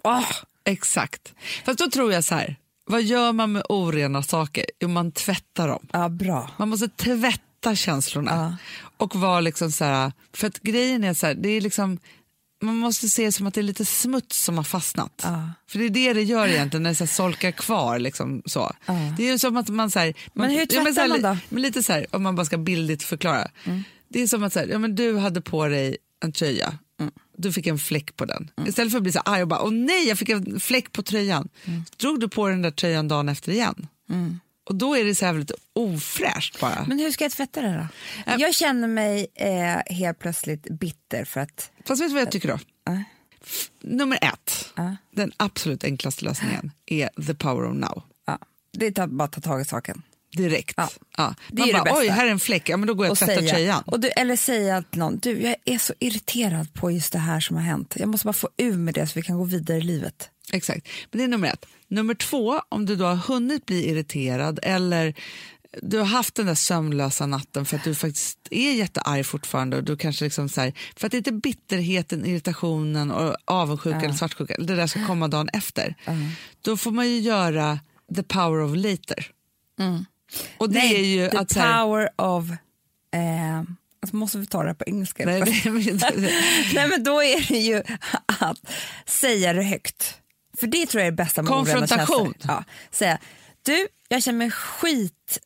B: åh,
A: exakt. Fast då tror jag så här, vad gör man med orena saker? Jo, man tvättar dem.
B: ja bra.
A: Man måste tvätta känslorna. Och vara liksom så här, för att grejen är så här, det är liksom man måste se det som att det är lite smuts som har fastnat. För det är det det gör egentligen när det så här solkar kvar. Liksom så. Det är ju som att man... Så här, man
B: hur
A: ja, så här,
B: tvättar man då?
A: Men lite så här, om man bara ska bildligt förklara. Det är som att så här, ja, men du hade på dig en tröja. Du fick en fläck på den. Istället för att bli så arg och bara, åh nej, jag fick en fläck på tröjan. Så drog du på den där tröjan dagen efter igen. Och då är det så här lite ofräscht bara.
B: Men hur ska jag tvätta det här då?
A: Äh,
B: Jag känner mig eh, helt plötsligt bitter för att,
A: Fast vet du vad jag tycker då?
B: äh,
A: Nummer ett, den absolut enklaste lösningen är the power of now.
B: ja, det är ta- bara att ta tag i saken.
A: Direkt. Ja.
B: Det
A: Man
B: är det
A: bara,
B: bästa.
A: oj, här är en fläck, ja, men då går jag och tvättar
B: säga,
A: tröjan.
B: och du, eller säga att någon, du jag är så irriterad på just det här som har hänt. Jag måste bara få ur med det så vi kan gå vidare i livet.
A: Exakt. Men det är nummer ett. Nummer två, om du då har hunnit bli irriterad eller du har haft den där sömnlösa natten för att du faktiskt är jättearg fortfarande och du kanske liksom så här, för att det är inte bitterheten, irritationen och avundsjukan eller svartsjukan, det där ska komma dagen efter. Då får man ju göra the power of later. Och det är ju
B: Mm. the
A: att så här,
B: power of... Eh, alltså måste vi ta det här på engelska?
A: Nej, det,
B: Nej, men då är det ju att säga det högt. För det tror jag är det bästa med orena
A: Konfrontation.
B: känslor. Ja, säga, du, jag känner mig skit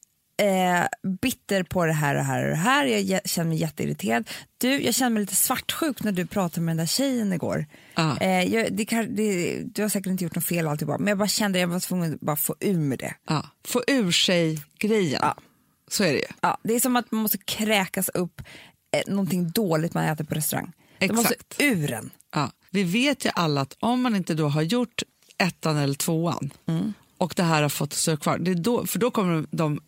B: eh, bitter på det här och det här och det här. Jag jä- känner mig jätteirriterad. Du, jag känner mig lite svartsjuk när du pratade med den där tjejen igår.
A: Ja.
B: Eh, jag, det kan, det, du har säkert inte gjort något fel alltihopa, men jag bara kände att jag var tvungen att bara få ur med det.
A: ja, få ur sig grejen. Så är det ju.
B: Ja, det är som att man måste kräkas upp eh, någonting dåligt man äter på restaurang. Det måste
A: Exakt.
B: ur den.
A: Ja. Vi vet ju alla att om man inte då har gjort ettan eller tvåan
B: Mm.
A: och det här har fått stå kvar, det är då, för då kommer de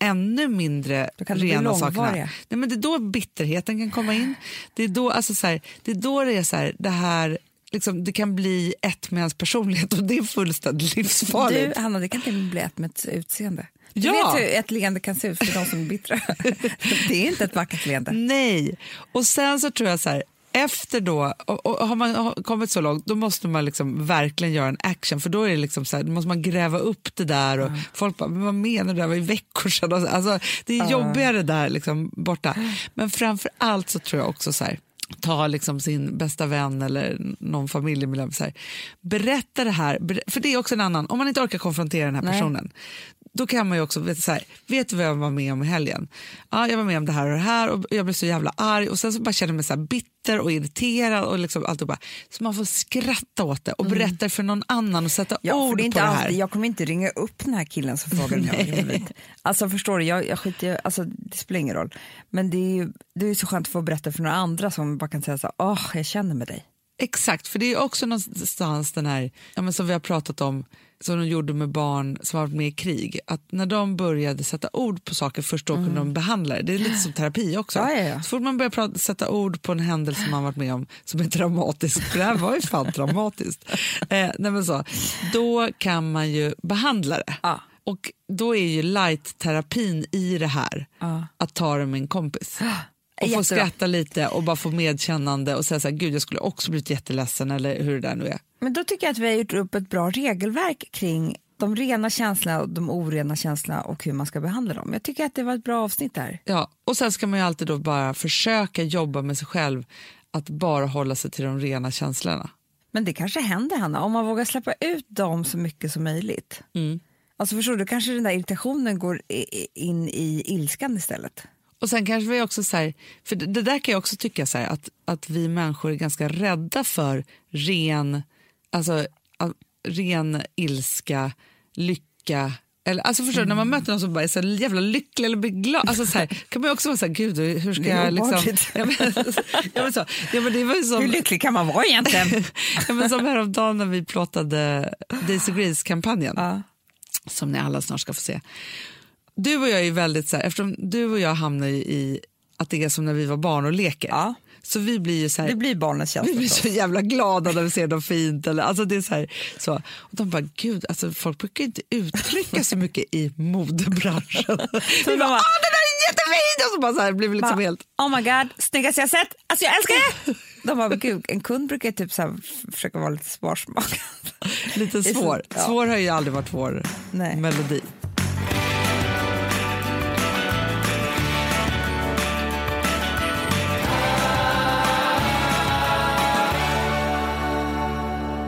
A: ännu mindre
B: Då kan det bli
A: rena
B: långvariga.
A: sakerna. Nej, men det är då bitterheten kan komma in. Det är då, alltså, så här, det, är då det är så här, det här liksom, det kan bli ett med ens personlighet och det är fullständigt livsfarligt.
B: Du, Hanna, det kan till och med bli ett med ett utseende. Du
A: Ja.
B: vet hur ett leende kan se ut för de som är bittra. det är inte ett vackert leende.
A: Nej. Och sen så tror jag så här, efter då, och, och har man har kommit så långt, då måste man liksom verkligen göra en action, för då är det liksom så här, då måste man gräva upp det där och folk bara, men vad menar du, det här var ju veckor sedan. Och så- Alltså, det är jobbigare där liksom borta. Men framför allt så tror jag också så här, ta liksom sin bästa vän eller någon familjemedlem, så här, berätta det här, ber- för det är också en annan, om man inte orkar konfrontera den här
B: Nej.
A: personen, då kan man ju också, vet, så här, vet du vad jag var med om i helgen? Ja, jag var med om det här och det här och jag blev så jävla arg och sen så bara känner jag mig så här bitter och irriterad och liksom alltihopa. Så man får skratta åt det och berätta det för någon annan och sätta
B: Mm. Ja, för
A: ord
B: det är inte
A: på det här.
B: alltid, jag kommer inte ringa upp den här killen som frågar om jag har roligt. Alltså förstår du, jag, jag skiter ju- alltså, det spelar ingen roll. Men det är ju det är ju så skönt att få berätta för några andra som bara kan säga så här, åh, jag känner med dig.
A: Exakt, för det är också någonstans den här, ja, men som vi har pratat om, som de gjorde med barn som har varit med i krig, att när de började sätta ord på saker först då kunde de behandla det. Det är lite som terapi också.
B: Mm. Ja, ja, ja.
A: Så fort man börjar prata, sätta ord på en händelse man varit med om som är traumatisk, för det här var ju fan traumatiskt, eh, nej men så, då kan man ju behandla det.
B: Ja.
A: Och då är ju light-terapin i det här,
B: Ja.
A: att ta det med en kompis. Och få
B: Jättebra.
A: skratta lite och bara få medkännande och säga så här, gud jag skulle också blivit jätteledsen eller hur det där nu är.
B: Men då tycker jag att vi har gjort upp ett bra regelverk kring de rena känslorna och de orena känslorna och hur man ska behandla dem. Jag tycker att det var ett bra avsnitt där.
A: Ja, och sen ska man ju alltid då bara försöka jobba med sig själv att bara hålla sig till de rena känslorna.
B: Men det kanske händer Hanna, om man vågar släppa ut dem så mycket som möjligt. Alltså förstår du, kanske den där irritationen går i- i- in i ilskan istället.
A: Och sen kanske vi också så här, för det, det där kan jag också tycka så här, att, att vi människor är ganska rädda för ren, alltså a- ren ilska, lycka, eller, alltså förstår du, när
B: Mm.
A: man möter någon som bara är så här jävla lycklig eller blir glad, alltså så här, kan man ju också vara så här, gud hur ska
B: Det är
A: jag liksom...
B: obehagligt.
A: Ja, men, ja, men så, ja, men det var ju som,
B: Hur lycklig kan man vara egentligen?
A: ja, men som häromdagen när vi plåtade Daisy Grace-kampanjen
B: ja.
A: som ni alla snart ska få se. Du och jag är ju väldigt så här, eftersom du och jag hamnar ju i att det är som när vi var barn och leker.
B: Ja.
A: Så vi blir ju så här,
B: Det blir barnens
A: vi
B: känsla.
A: blir
B: förstås.
A: så jävla glada när vi ser något fint. Eller, alltså det är så här, så. Och de bara, gud, alltså, folk brukar ju inte uttrycka så mycket i modebranschen. vi bara,
B: bara-
A: ah, det där är jättefint! Och så bara så här, blir vi liksom
B: Bara,
A: helt...
B: Oh my god, snyggaste jag sett! Alltså jag älskar det! De bara, gud, en kund brukar ju typ så här f- försöka vara lite sparsmakad.
A: Lite
B: Det är så-
A: svår.
B: ja.
A: Svår har ju aldrig varit vår
B: Nej.
A: melodi.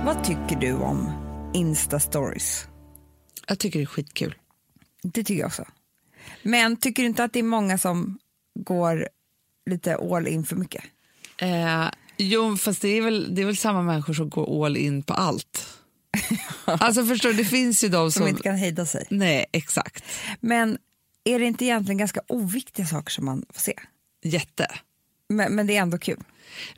B: Vad tycker du om Insta-stories?
A: Jag tycker det är skitkul.
B: Det tycker jag också. Men tycker du inte att det är många som går lite all in för mycket?
A: Eh, jo, fast det är, väl, det är väl samma människor som går all in på allt. alltså förstår du, det finns ju de
B: Som
A: som...
B: inte kan hejda sig.
A: Nej, exakt.
B: Men är det inte egentligen ganska oviktiga saker som man får se?
A: Jätte.
B: Men, men det är ändå kul.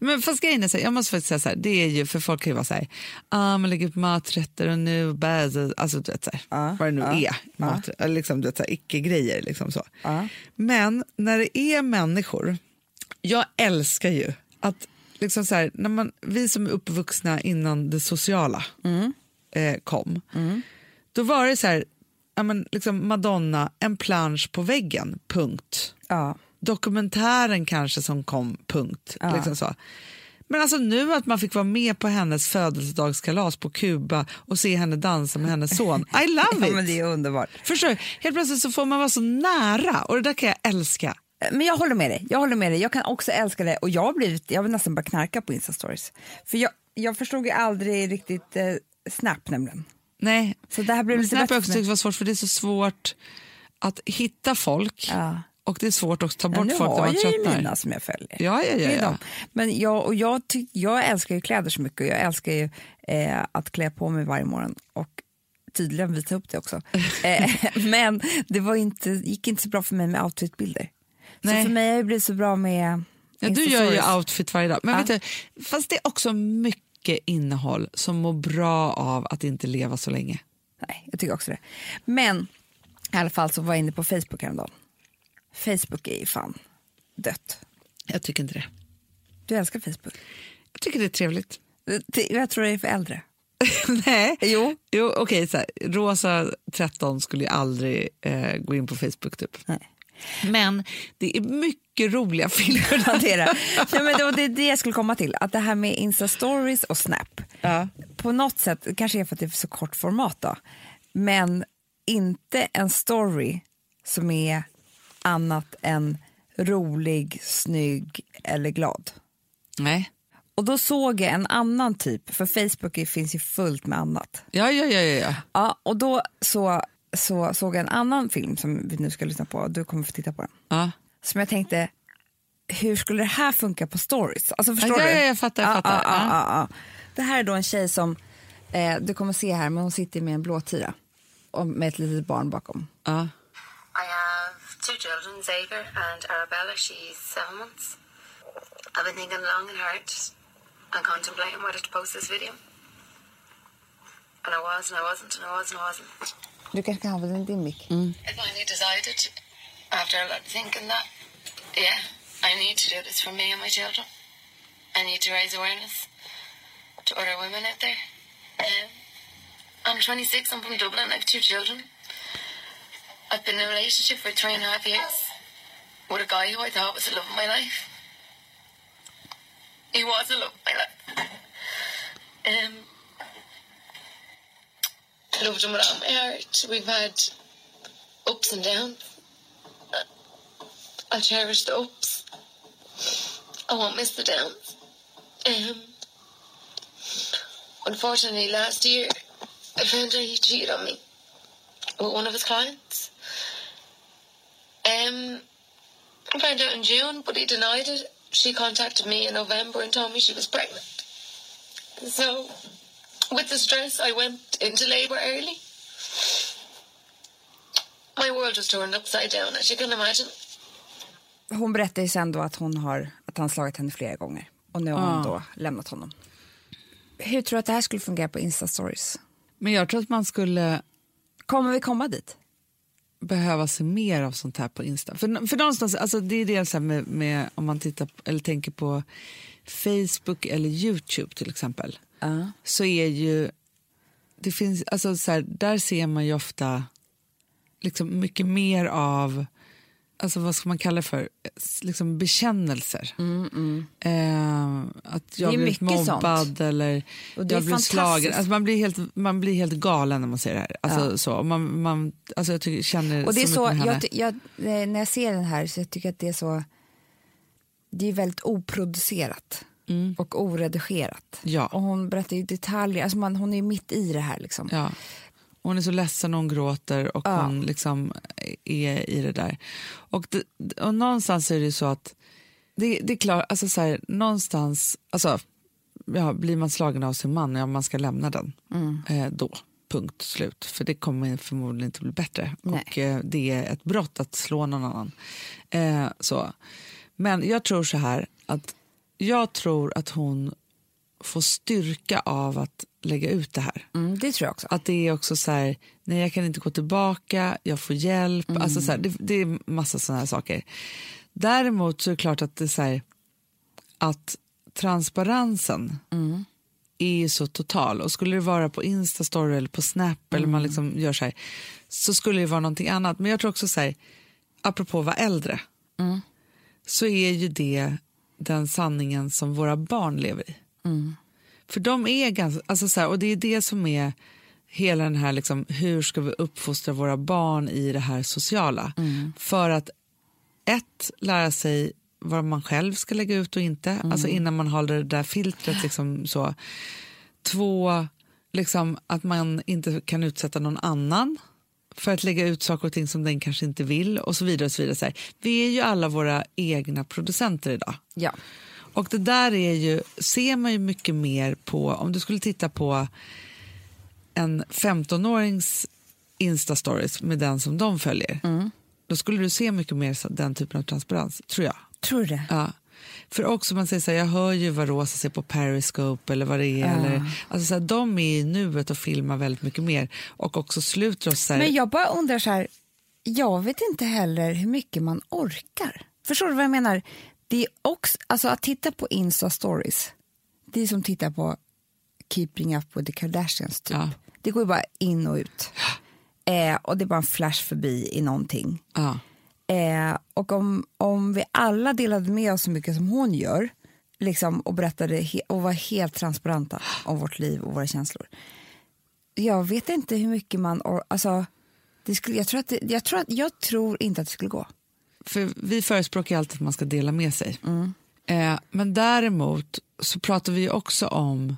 A: Men fast grejen är så här, jag måste faktiskt säga så här, det är ju, för folk kan ju vara så här, ah, man lägger upp maträtter och nu, bäs, alltså du vet så här,
B: Ja,
A: vad det nu
B: ja,
A: är,
B: ja.
A: mat, eller liksom du vet så här, icke-grejer liksom så.
B: Ja.
A: Men när det är människor, jag älskar ju att liksom så här, när man, vi som är uppvuxna innan det sociala eh, kom, då var det så här, ja, men, liksom Madonna, en plansch på väggen, punkt
B: Ja.
A: dokumentären kanske som kom, punkt.
B: Ja.
A: Liksom så. Men alltså nu att man fick vara med på hennes födelsedagskalas på Kuba och se henne dansa med hennes son. I love
B: ja,
A: it!
B: men det är underbart.
A: Förstår du? Helt plötsligt så får man vara så nära och det där kan jag älska.
B: Men jag håller med dig. Jag håller med dig. Jag kan också älska det. Och jag har blivit, jag vill nästan bara knarka på Insta-stories. För jag, jag förstod ju aldrig riktigt eh, Snap nämligen.
A: Nej,
B: Så det här blev
A: men
B: lite
A: Snap har jag
B: bättre
A: också
B: för mig.
A: tyckt var svårt för det är så svårt att hitta folk
B: Ja.
A: och det är svårt att ta
B: Ja,
A: bort
B: nu
A: folk när
B: har
A: man
B: jag ju
A: tröttnar.
B: mina som jag följer.
A: Ja, ja, ja,
B: Det är
A: ja.
B: dem. Men jag, och jag, tyck, jag älskar ju kläder så mycket och jag älskar ju eh, att klä på mig varje morgon och tydligen visa upp det också. eh, men det var inte, gick inte så bra för mig med outfitbilder. Så
A: Nej.
B: för mig har det blivit så bra med
A: Ja, du
B: Insta-stories.
A: gör ju outfit varje dag. Men
B: Ja.
A: vet du, fast det är också mycket innehåll som mår bra av att inte leva så länge.
B: Nej, jag tycker också det. Men i alla fall så var jag inne på Facebook häromdagen. Facebook är ju fan dött.
A: Jag tycker inte det.
B: Du älskar Facebook.
A: Jag tycker det är trevligt.
B: Det- Jag tror det är för äldre.
A: Nej.
B: Jo.
A: Jo, okej. så här, Rosa 13 skulle ju aldrig eh, gå in på Facebook. Typ.
B: Nej.
A: Men det är mycket roliga filmer.
B: Hantera. Nej, men det var det, det jag skulle komma till, att det här med Insta-stories och Snap,
A: Ja.
B: på något sätt, kanske är för att det är så kort format då, men inte en story som är annat än rolig, snygg eller glad.
A: Nej.
B: Och då såg jag en annan typ, för Facebook finns ju fullt med annat.
A: Ja, ja, ja, ja, ja.
B: Ja, och då så, så såg jag en annan film som vi nu ska lyssna på, du kommer få titta på den.
A: ja.
B: Som jag tänkte, hur skulle det här funka på stories? Alltså förstår
A: Ja,
B: du?
A: ja, jag fattar, jag
B: Ja,
A: fattar.
B: ja,
A: Ja.
B: ja, ja. Det här är då en tjej som, eh, du kommer se här, men hon sitter med en blåtira. Och med ett litet barn bakom.
A: ja.
F: I have two children, Xavier and Arabella. She's seven months. I've been thinking long and hard and contemplating whether to post this video. And I was, and I wasn't, and I was, and I wasn't.
B: Du kanske kan använda din mick?
F: I finally decided, after a lot of thinking, that, yeah, I need to do this for me and my children. I need to raise awareness to other women out there. Um, I'm 26, I'm from Dublin, I have two children. I've been in a relationship for three and a half years with a guy who I thought was the love of my life. He was the love of my life. Um, loved him with all my heart. We've had ups and downs. I cherish the ups. I won't miss the downs. Um, unfortunately, last year I found out he cheated on me with one of his clients. Um, I found out in June, but he denied it. She contacted me in November and told me she was pregnant. So, with the stress, I went into labour early my world was turned upside down, as you can imagine.
B: Hon berättar ju sen då att, hon har, att han slagit henne flera gånger. Och nu har hon då lämnat honom. Hur tror du att det här skulle fungera på Insta-stories?
A: Men jag tror att man skulle
B: Kommer vi komma dit?
A: behöva se mer av sånt här på Insta. För, för någonstans, alltså det är det så här med, med om man tittar på- eller tänker på Facebook eller Youtube till exempel. Så är ju, det finns, alltså så här, där ser man ju ofta liksom mycket mer av, alltså vad ska man kalla det för, S- liksom bekännelser. Eh, att jag
B: Mm, Det är
A: blev
B: mycket sånt.
A: mobbad eller
B: Och det är
A: jag blev slagen.
B: fantastiskt.
A: Alltså man, blir helt, man blir helt galen när man ser det här. Alltså, så. Och Man, man, alltså jag tycker, känner
B: Och det är
A: så,
B: så,
A: mycket med henne.
B: jag, ty- jag, eh, när jag ser den här så jag tycker jag att det är så... Det är väldigt oproducerat och oredigerat.
A: Ja.
B: Och hon berättar ju detaljer, alltså man, hon är ju mitt i det här. Liksom.
A: Ja. Hon är så ledsen och hon gråter och hon liksom är i det där. Och, det, och någonstans är det ju så att det, det är klart, alltså så här, någonstans, alltså, ja, blir man slagen av sin man, ja man ska lämna den
B: Mm.
A: eh, då. Punkt slut, för det kommer förmodligen inte bli bättre.
B: Nej.
A: Och eh, det är ett brott att slå någon annan. Eh, så. Men jag tror så här att jag tror att hon får styrka av att lägga ut det här.
B: Mm, det tror jag också.
A: Att det är också så här, nej jag kan inte gå tillbaka, jag får hjälp. Alltså så här, det, det är massa sådana här saker. Däremot så är det klart att det är så här, att transparensen är ju så total. Och skulle det vara på Instastory eller på Snap eller man liksom gör så här, så skulle det vara någonting annat. Men jag tror också så här, apropå att vara äldre, så är ju det den sanningen som våra barn lever i. För de är ganska, alltså så här, och det är det som är hela den här liksom, hur ska vi uppfostra våra barn i det här sociala? För att ett, lära sig vad man själv ska lägga ut och inte, alltså innan man håller det där filtret liksom så. Två, liksom att man inte kan utsätta någon annan för att lägga ut saker och ting som den kanske inte vill och så vidare. Och så vidare. Så här, vi är ju alla våra egna producenter idag.
B: Ja.
A: Och det där är ju, ser man ju mycket mer på, om du skulle titta på en 15-årings Insta-stories med den som de följer, då skulle du se mycket mer så- den typen av transparens, tror jag.
B: Tror du det?
A: Ja. För också man säger så här, jag hör ju vad Rosa ser på Periscope eller vad det är. Eller, alltså så här, de är i nuet och filmar väldigt mycket mer och också sluter oss så här,
B: Men jag bara undrar så här, jag vet inte heller hur mycket man orkar. Förstår du vad jag menar? Det är också, alltså att titta på Insta-stories, det är som att titta på Keeping Up with the Kardashians typ.
A: Ja.
B: Det går ju bara in och ut. Eh, och det är bara en flash förbi i någonting.
A: Ja.
B: Eh, och om, om vi alla delade med oss så mycket som hon gör liksom, och berättade he- och var helt transparenta om vårt liv och våra känslor. Jag vet inte hur mycket man... or- Alltså, det skulle, jag, tror att det, jag, tror att, jag tror inte att det skulle gå.
A: För vi förespråkar ju alltid att man ska dela med sig.
B: Mm.
A: Eh, men däremot så pratar vi ju också om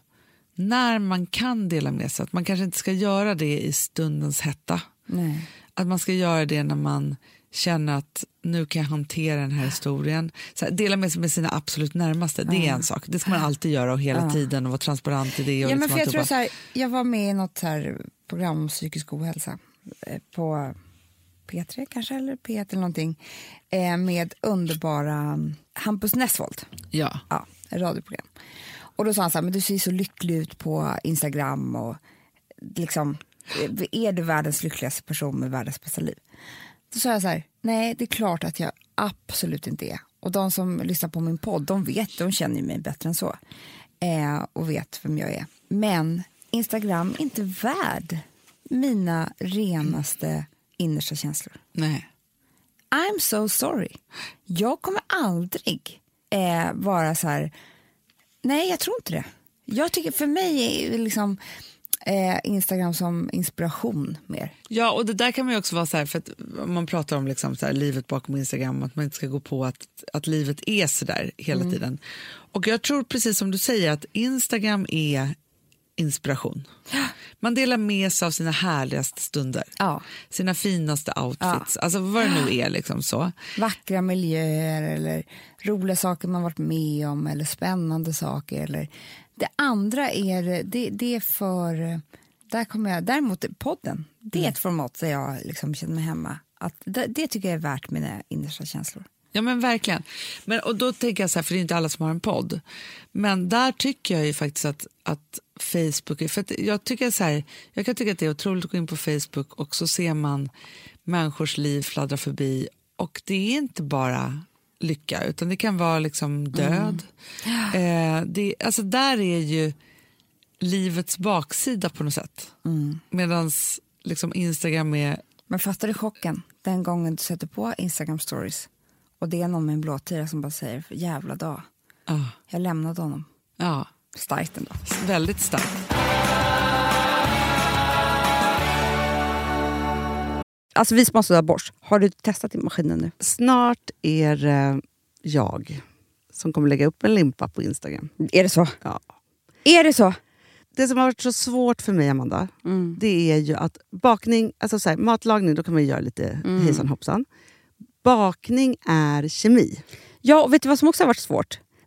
A: när man kan dela med sig. Att man kanske inte ska göra det i stundens hetta.
B: Nej.
A: Att man ska göra det när man känner att nu kan jag hantera den här historien. Så här, dela med sig med sina absolut närmaste, det är en sak. Det ska man alltid göra och hela tiden och vara transparent i det. Och
B: Mm. Ja, men
A: liksom
B: för jag,
A: alltihopa.
B: tror så här, jag var med i något så här program om psykisk ohälsa eh, på P3 kanske, eller P1 eller någonting eh, med underbara mm, Hampus Nessvold.
A: ja.
B: ja, ett radioprogram. Och då sa han så här, men du ser ju så lycklig ut på Instagram och liksom, eh, är du världens lyckligaste person med världens bästa liv? Då sa jag så här, nej det är klart att jag absolut inte är. Och de som lyssnar på min podd, de vet, de känner ju mig bättre än så. Eh, och vet vem jag är. Men Instagram är inte värd mina renaste innersta känslor.
A: Nej.
B: I'm so sorry. Jag kommer aldrig eh, vara så här, nej jag tror inte det. Jag tycker för mig är ju liksom eh, Instagram som inspiration mer.
A: Ja, och det där kan man ju också vara så här, för att om man pratar om liksom så här, livet bakom Instagram, att man inte ska gå på att, att livet är så där hela
D: Mm.
A: tiden. Och jag tror precis som du säger att Instagram är inspiration. Man delar med sig av sina härligaste stunder,
B: Ja.
A: sina finaste outfits, alltså vad det nu är liksom så.
B: Vackra miljöer eller roliga saker man varit med om eller spännande saker. Eller. Det andra är, det, det är för, där kommer jag, däremot podden, det är ett format där jag liksom känner mig hemma. Att det, det tycker jag är värt mina innersta känslor.
A: Ja men verkligen. Men, och då tänker jag så här, för det är inte alla som har en podd. Men där tycker jag ju faktiskt att, att Facebook, är- för att jag tycker så här, jag kan tycka att det är otroligt att gå in på Facebook och så ser man människors liv fladdra förbi och det är inte bara lycka utan det kan vara liksom död. Eh, det, alltså där är ju livets baksida på något sätt. Mm. Medan liksom Instagram är
B: Men fattar du chocken den gången du sätter på Instagram stories och det är någon med en blåtira som bara säger jävla dag,
A: ah,
B: jag lämnade honom.
A: ja,
B: Starkt ändå.
A: väldigt starkt.
C: Alltså vi som har sådär borst, har du testat i maskinen nu?
D: Snart är det jag som kommer lägga upp en limpa på Instagram.
C: Är det så?
D: Ja.
C: Är det så?
D: Det som har varit så svårt för mig, Amanda,
A: Mm.
D: det är ju att bakning... Alltså så här, matlagning, då kan man ju göra lite
A: Mm.
D: hejsan hoppsan. Bakning är kemi.
C: Ja, och vet du vad som också har varit svårt?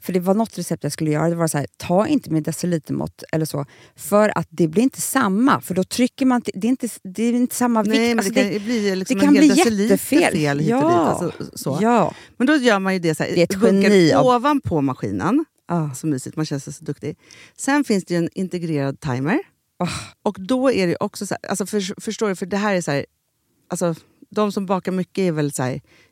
C: För det var något recept jag skulle göra. Det var så här, ta inte med decilitermått eller så. För att det blir inte samma. För då trycker man... till- Det är inte, det är inte samma
D: Nej,
C: vikt.
D: men
C: Alltså,
D: det kan ju bli liksom
C: det kan
D: en hel
C: bli
D: deciliter
C: jättefel.
D: fel hit och dit.
C: Ja.
D: Alltså, så.
C: Ja.
D: Men då gör man ju det så här,
C: Det är ett
D: bunkar
C: geni av-
D: ovanpå maskinen.
C: Ah.
D: Så mysigt, man känns så duktig. Sen finns det ju en integrerad timer.
C: Ah.
D: Och då är det ju också så här, alltså för, förstår du, för det här är så här, alltså de som bakar mycket är väl så här,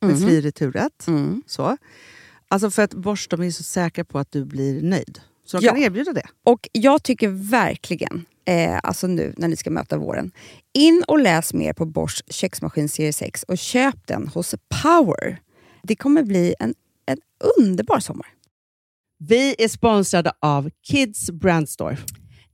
D: med fri returrätt. Så. Alltså för att Bosch de är ju så säkra på att du blir nöjd. Så de
C: Ja.
D: kan erbjuda det.
C: Och jag tycker verkligen, eh, alltså nu när ni ska möta våren, in och läs mer på Bosch köksmaskin serie 6 och köp den hos Power. Det kommer bli en, en underbar sommar.
D: Vi är sponsrade av Kids Brand Store.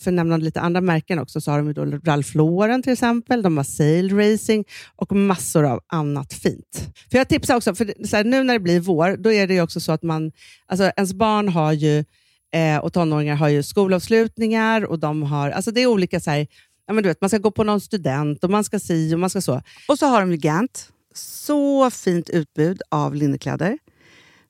D: För att nämna lite andra märken också, så har de ju då Ralph Lauren till exempel, de har Sail Racing och massor av annat fint. För Jag tipsar också, för det- så här, nu när det blir vår, då är det ju också så att man, alltså ens barn har ju, eh, och tonåringar har ju skolavslutningar och de har, alltså det är olika så här, ja, men du vet, man ska gå på någon student och man ska si och man ska så. Och så har de ju Gant, så fint utbud av linnekläder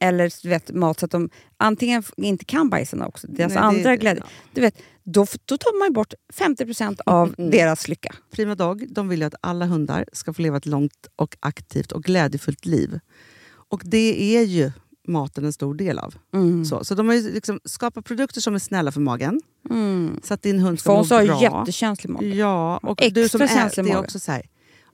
C: eller du vet, mat så att de antingen f- inte kan bajsarna också, deras
D: Nej, det-
C: andra
D: det-
C: glädje,
D: ja.
C: du vet, då, f- då tar man ju bort 50% av
D: Mm.
C: deras lycka.
D: Prima Dog de vill ju att alla hundar ska få leva ett långt och aktivt och glädjefullt liv. Och det är ju maten en stor del av.
C: Mm.
D: Så, så de har ju liksom skapat produkter som är snälla för magen.
C: Mm.
D: Så att din hund ska må
C: Fons har ju
D: bra.
C: jättekänslig mage.
D: Ja, och
C: Extra
D: du som är,
C: känslig
D: det är
C: mage.
D: också så här,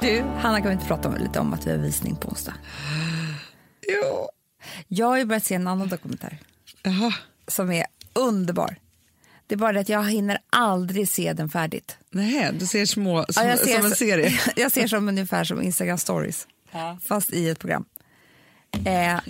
B: Du, Hanna kan vi inte prata om, lite om att vi har visning på onsdag? Jo. Jag har ju börjat se en annan dokumentär
A: Jaha.
B: som är underbar. Det är bara det att jag hinner aldrig se den färdigt.
A: Nej, du ser små som,
B: Ja, jag ser
A: som en
B: så-
A: serie.
B: jag ser som ungefär som Instagram stories, fast i ett program. Eh,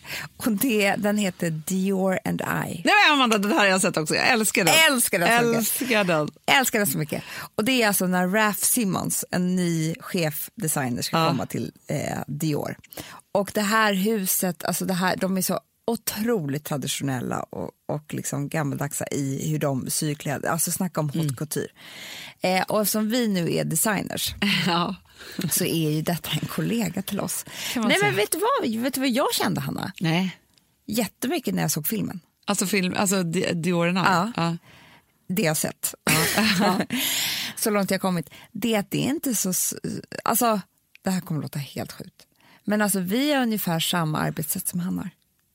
B: och det, den heter Dior and I.
A: Nej, men Amanda, den här har jag sett också. Jag älskar den.
B: Älskar den så mycket.
A: Älskar den.
B: Jag älskar den så mycket. Och det är alltså när Raf Simons, en ny chefdesigner, ska komma till eh, Dior. Och det här huset, alltså det här, de är så otroligt traditionella och, och liksom gammaldagsa i hur de syr kläder. Alltså snacka om haute
A: Mm.
B: couture. Eh, och eftersom vi nu är designers
A: Ja.
B: så är ju detta en kollega till oss.
A: man
B: Nej
A: säga.
B: men vet du, vad, vet du vad jag kände Hanna?
A: Nej.
B: Jättemycket när jag såg filmen.
A: Alltså, film, alltså Di- Dior and I.
B: Ja.
A: Ja.
B: det jag sett. så långt jag kommit. Det att det är inte så... s- Alltså, det här kommer låta helt sjukt. Men alltså, vi har ungefär samma arbetssätt som han har.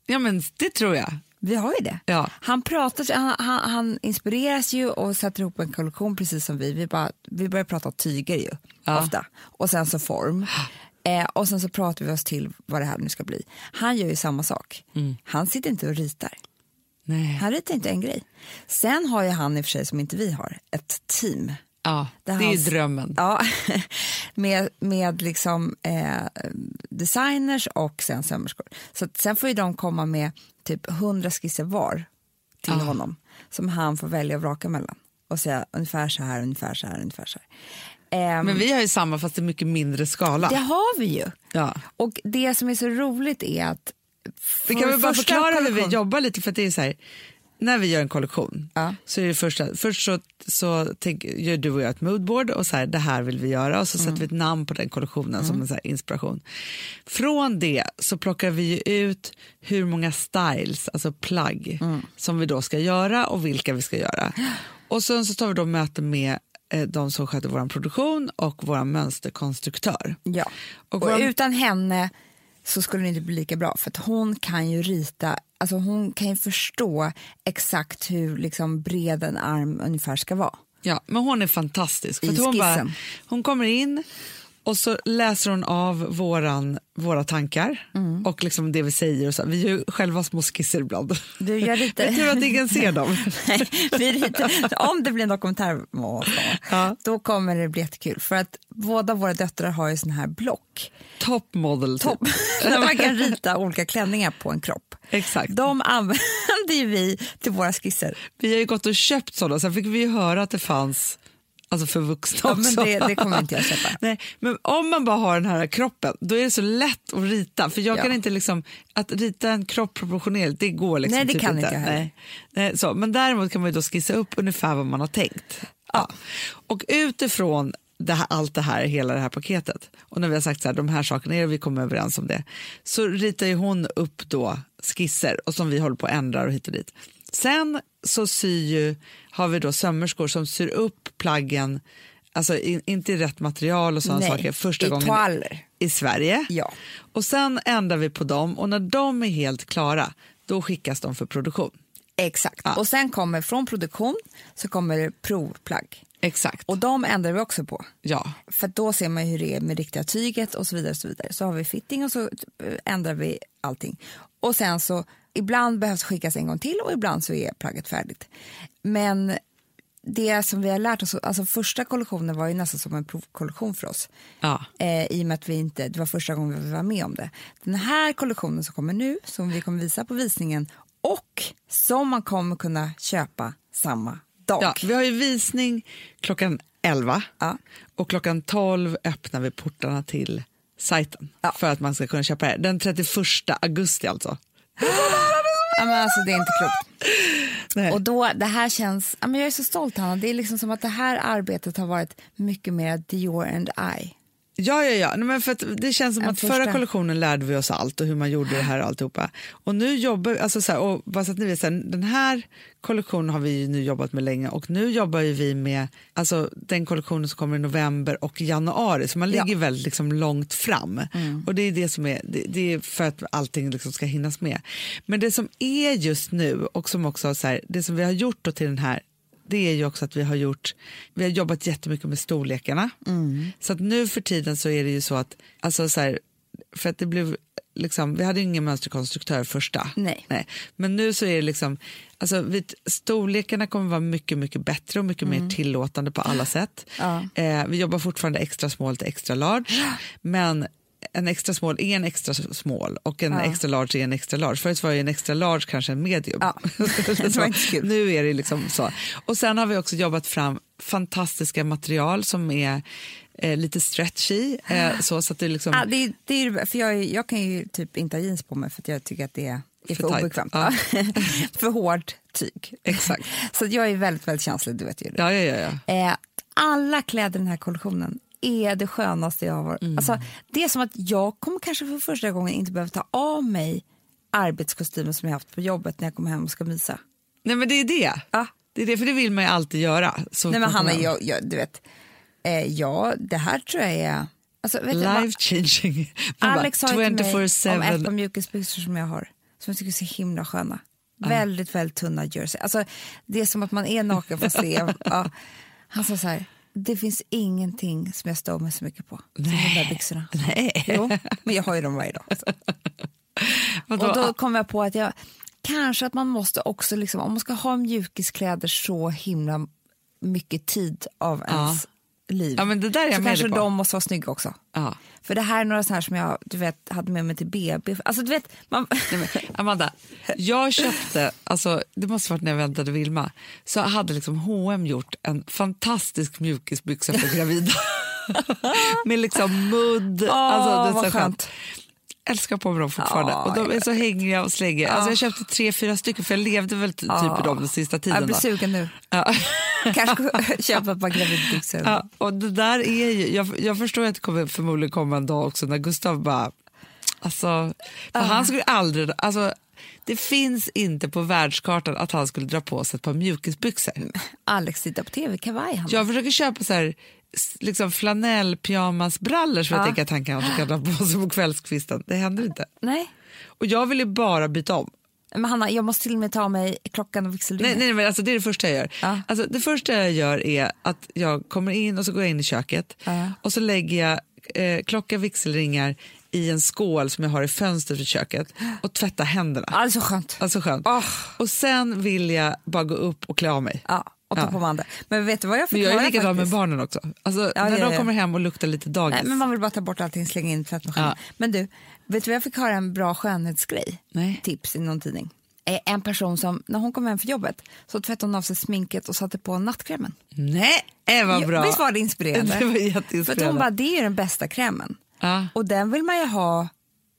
A: ja, men det tror jag.
B: Vi har ju det.
A: Ja.
B: Han, pratar, han, han, han inspireras ju och sätter ihop en kollektion precis som vi. Vi, bara, vi börjar prata tyger ju, ofta. Och sen så form. Eh, och sen så pratar vi oss till vad det här nu ska bli. Han gör ju samma sak. Han sitter inte och ritar.
A: Nej.
B: Han ritar inte en grej. Sen har ju han i och för sig, som inte vi har, ett team
A: Ja, det
B: Där
A: är
B: hans-
A: drömmen.
B: Ja, med, med liksom eh, designers och sen sömmerskor. Så att sen får ju de komma med typ 100 skisser var till
A: Ah.
B: honom som han får välja och vraka mellan och säga ungefär så här, ungefär så här, ungefär så här. Ehm,
A: Men vi har ju samma fast i mycket mindre skala.
B: Det har vi ju.
A: Ja.
B: Och det som är så roligt är att
A: Vi
B: för
A: kan väl bara
B: första
A: förklara hur vi
B: kollektion-
A: jobbar lite för att det är så här, när vi gör en kollektion
B: Ja.
A: så är det första, först så, så tänk, gör du och jag ett moodboard och så här, det här vill vi göra och så sätter vi ett namn på den kollektionen
B: Mm.
A: som en så här inspiration. Från det så plockar vi ju ut hur många styles, alltså plagg,
B: Mm.
A: som vi då ska göra och vilka vi ska göra. Och sen så tar vi då möte med eh, de som sköter vår produktion och vår mönsterkonstruktör.
B: Ja.
A: Och
B: Och,
A: vad-
B: utan henne så skulle det inte bli lika bra för att hon kan ju rita, alltså hon kan ju förstå exakt hur liksom bred en arm ungefär ska vara.
A: Ja, men hon är fantastisk.
B: I
A: För att hon,
B: skissen.
A: bara, hon kommer in och så läser hon av våran, våra tankar
B: Mm.
A: och liksom det vi säger. Och så. Vi gör ju själva små skisser ibland.
B: Du, jag ritar-
A: Det är tur att ingen ser dem.
B: Nej, vi ritar- om det blir en dokumentär om oss, då kommer det bli jättekul för att båda våra döttrar har ju sån här block
A: Top model. Typ.
B: topp där man kan rita olika klänningar på en kropp.
A: Exakt.
B: De använder ju vi till våra skisser.
A: Vi har ju gått och köpt sådana, sen fick vi ju höra att det fanns Alltså för vuxna
B: Ja,
A: också.
B: men det, det kommer inte jag köpa.
A: Nej, men om man bara har den här kroppen, då är det så lätt att rita. För jag
B: Ja.
A: kan inte liksom, att rita en kropp proportionellt, det går liksom
B: Nej, det
A: typ
B: kan
A: inte.
B: inte jag heller.
A: Nej. Nej, så. Men däremot kan man ju då skissa upp ungefär vad man har tänkt. Ja. Och utifrån det här, allt det här, hela det här paketet, och när vi har sagt så här, de här sakerna är det, vi kommer överens om det, så ritar ju hon upp då skisser och som vi håller på att ändra och hit och dit. Sen så syr ju, har vi då sömmerskor som syr upp plaggen, alltså i- inte i rätt material och sådana
B: Nej,
A: saker första
B: i
A: gången
B: toaller.
A: i Sverige.
B: Ja.
A: Och sen ändrar vi på dem och när de är helt klara, då skickas de för produktion.
B: Exakt.
A: Ja.
B: Och sen kommer från produktion så kommer det provplagg.
A: Exakt.
B: Och de ändrar vi också på.
A: ja.
B: För att då ser man ju hur det är med riktiga tyget och så vidare. och Så vidare. Så har vi fitting och så eh, ändrar vi allting. Och sen så, ibland behövs skickas en gång till och ibland så är plagget färdigt. Men det som vi har lärt oss, alltså första kollektionen var ju nästan som en provkollektion för oss.
A: Ja.
B: Eh, I och med att vi inte, det var första gången vi var med om det. Den här kollektionen som kommer nu, som vi kommer visa på visningen och som man kommer kunna köpa samma dag.
A: Ja, vi har ju visning klockan 11
B: Ja.
A: och klockan 12 öppnar vi portarna till sajten
B: Ja.
A: för att man ska kunna köpa det. här. Den 31 augusti alltså.
B: Ja, men alltså, det är inte klokt.
A: Nej.
B: Och då, det här känns, ja, men jag är så stolt Hanna, det är liksom som att det här arbetet har varit mycket mer Dior and
A: Mm.
B: I.
A: Ja, ja, ja. Nej, men för att det känns som
B: Den
A: att förra
B: första.
A: kollektionen lärde vi oss allt och hur man gjorde det här och alltihopa. Och nu jobbar vi, alltså så här, och bara så att ni vet, så här, den här kollektionen har vi ju nu jobbat med länge och nu jobbar ju vi med alltså, den kollektionen som kommer i november och januari, så man ligger väldigt liksom, långt fram. Och det är det som är, det, det är för att allting liksom ska hinnas med. Men det som är just nu och som också så här, det som vi har gjort då till den här det är ju också att vi har gjort, vi har jobbat jättemycket med storlekarna. Så att nu för tiden så är det ju så att, alltså så här, för att det blev liksom, vi hade ju ingen mönsterkonstruktör första.
B: Nej.
A: Men nu så är det liksom, alltså vi, storlekarna kommer vara mycket, mycket bättre och mycket
B: Mm.
A: mer tillåtande på
B: Ah.
A: alla sätt. Eh, vi jobbar fortfarande extra small till extra large, men en extra small är en extra small och en extra large är en extra large. Förut var ju en extra large kanske en medium.
B: Ja. Det var inte så kul.
A: Nu är det liksom så. Och sen har vi också jobbat fram fantastiska material som är eh, lite stretchy. Eh,
B: Ah.
A: så, så att det liksom,
B: Ja, det, är- det är, för jag, är- jag kan ju typ inte ha jeans på mig för att jag tycker att det är,
A: För
B: är för,
A: tajt.
B: obekvämt.
A: Ja.
B: för hårt tyg.
A: Exakt.
B: Så att jag är väldigt, väldigt känslig, du vet ju.
A: Ja, ja, ja, ja.
B: Eh, alla kläder i den här kollektionen är det skönaste jag har varit.
A: Mm.
B: Alltså, det är som att jag kommer kanske för första gången inte behöva ta av mig arbetskostymen som jag haft på jobbet när jag kommer hem och ska mysa.
A: Nej, men det är det.
B: Ja.
A: Det är det, för det vill man ju alltid göra. Så
B: Nej men Hanna, jag, jag, du vet, eh, ja, det här tror jag är... Alltså, vet du,
A: Life changing. Man
B: vad-
A: bara,
B: Alex sa ju till mig om
A: 24/7.
B: ett par mjukisbyxor som jag har, som jag tycker är så himla sköna. Väldigt, väldigt tunna jersey. Alltså, det är som att man är naken fast det är... ja. Han sa så här, det finns ingenting som jag stör mig så mycket på som de där byxorna.
A: Nej.
B: Jo, men jag har ju dem varje dag. Så.
A: Vadå?
B: Och då kom jag på att jag kanske att man måste också, liksom, om man ska ha mjukiskläder så himla mycket tid av ens liv.
A: Ja, men det där är jag
B: så
A: med
B: kanske
A: dig på.
B: de måste vara snygga också.
A: Ja.
B: För det här är några sådana här som jag du vet, hade med mig till BB. Alltså du vet, man...
A: Amanda, jag köpte, alltså, det måste ha varit när jag väntade Vilma, så hade liksom H&M gjort en fantastisk mjukisbyxa för gravida. Med liksom mudd.
B: Åh,
A: alltså,
B: vad
A: det är så skönt. Älskar på mig dem fortfarande.
B: Ja,
A: och de är så hängiga och släggiga. Alltså, jag köpte tre, fyra stycken för jag levde väl ty- typ i dem den sista tiden.
B: jag blir
A: då.
B: sugen nu.
A: Ja.
B: Kanske ska köpa ett par gravidbyxor.
A: Ja, och det där är ju, jag, jag förstår att det kommer förmodligen komma en dag också när Gustav bara... Alltså, för han skulle aldrig... Alltså, det finns inte på världskartan att han skulle dra på sig ett par mjukisbyxor.
B: Alex tittar på tv, kavaj han.
A: Jag försöker köpa så här, s- liksom flanellpyjamasbrallor som jag tänker att han kanske kan dra på sig på kvällskvisten. Det händer inte.
B: Nej,
A: Och jag vill ju bara byta om.
B: men Hanna, jag måste till och med ta av mig klockan och
A: Nej,
B: vigselringen.
A: nej, men alltså det är det första jag gör.
B: Ja.
A: Alltså det första jag gör är att jag kommer in och så går jag in i köket
B: Ja.
A: och så lägger jag eh, klocka, vigselringar i en skål som jag har i fönstret vid köket och tvättar händerna.
B: Ja, det är så skönt.
A: Alltså skönt.
B: Åh.
A: Och sen vill jag bara gå upp och klä av mig.
B: Ah. Ja, och ta
A: Ja.
B: på mig andra. Men vet du vad jag
A: Men
B: fick
A: jag är
B: höra
A: likadan med
B: faktiskt?
A: barnen också. Alltså,
B: Ja,
A: när
B: ja,
A: de
B: ja.
A: kommer hem och luktar lite dagis.
B: Nej, men man vill bara ta bort allting, slänga in i tvättmaskinen.
A: Ja.
B: Men du, vet du vad jag fick höra en bra skönhetsgrej?
A: Nej.
B: Tips i någon tidning. Eh, En person som, när hon kom hem från jobbet, så tvättade hon av sig sminket och satte på nattkrämen.
A: Nej, eh, vad
B: Jo,
A: bra.
B: Visst var det inspirerande?
A: Det var
B: För
A: jätteinspirerande.
B: att hon bara, det är ju den bästa krämen.
A: Ja.
B: Och den vill man ju ha,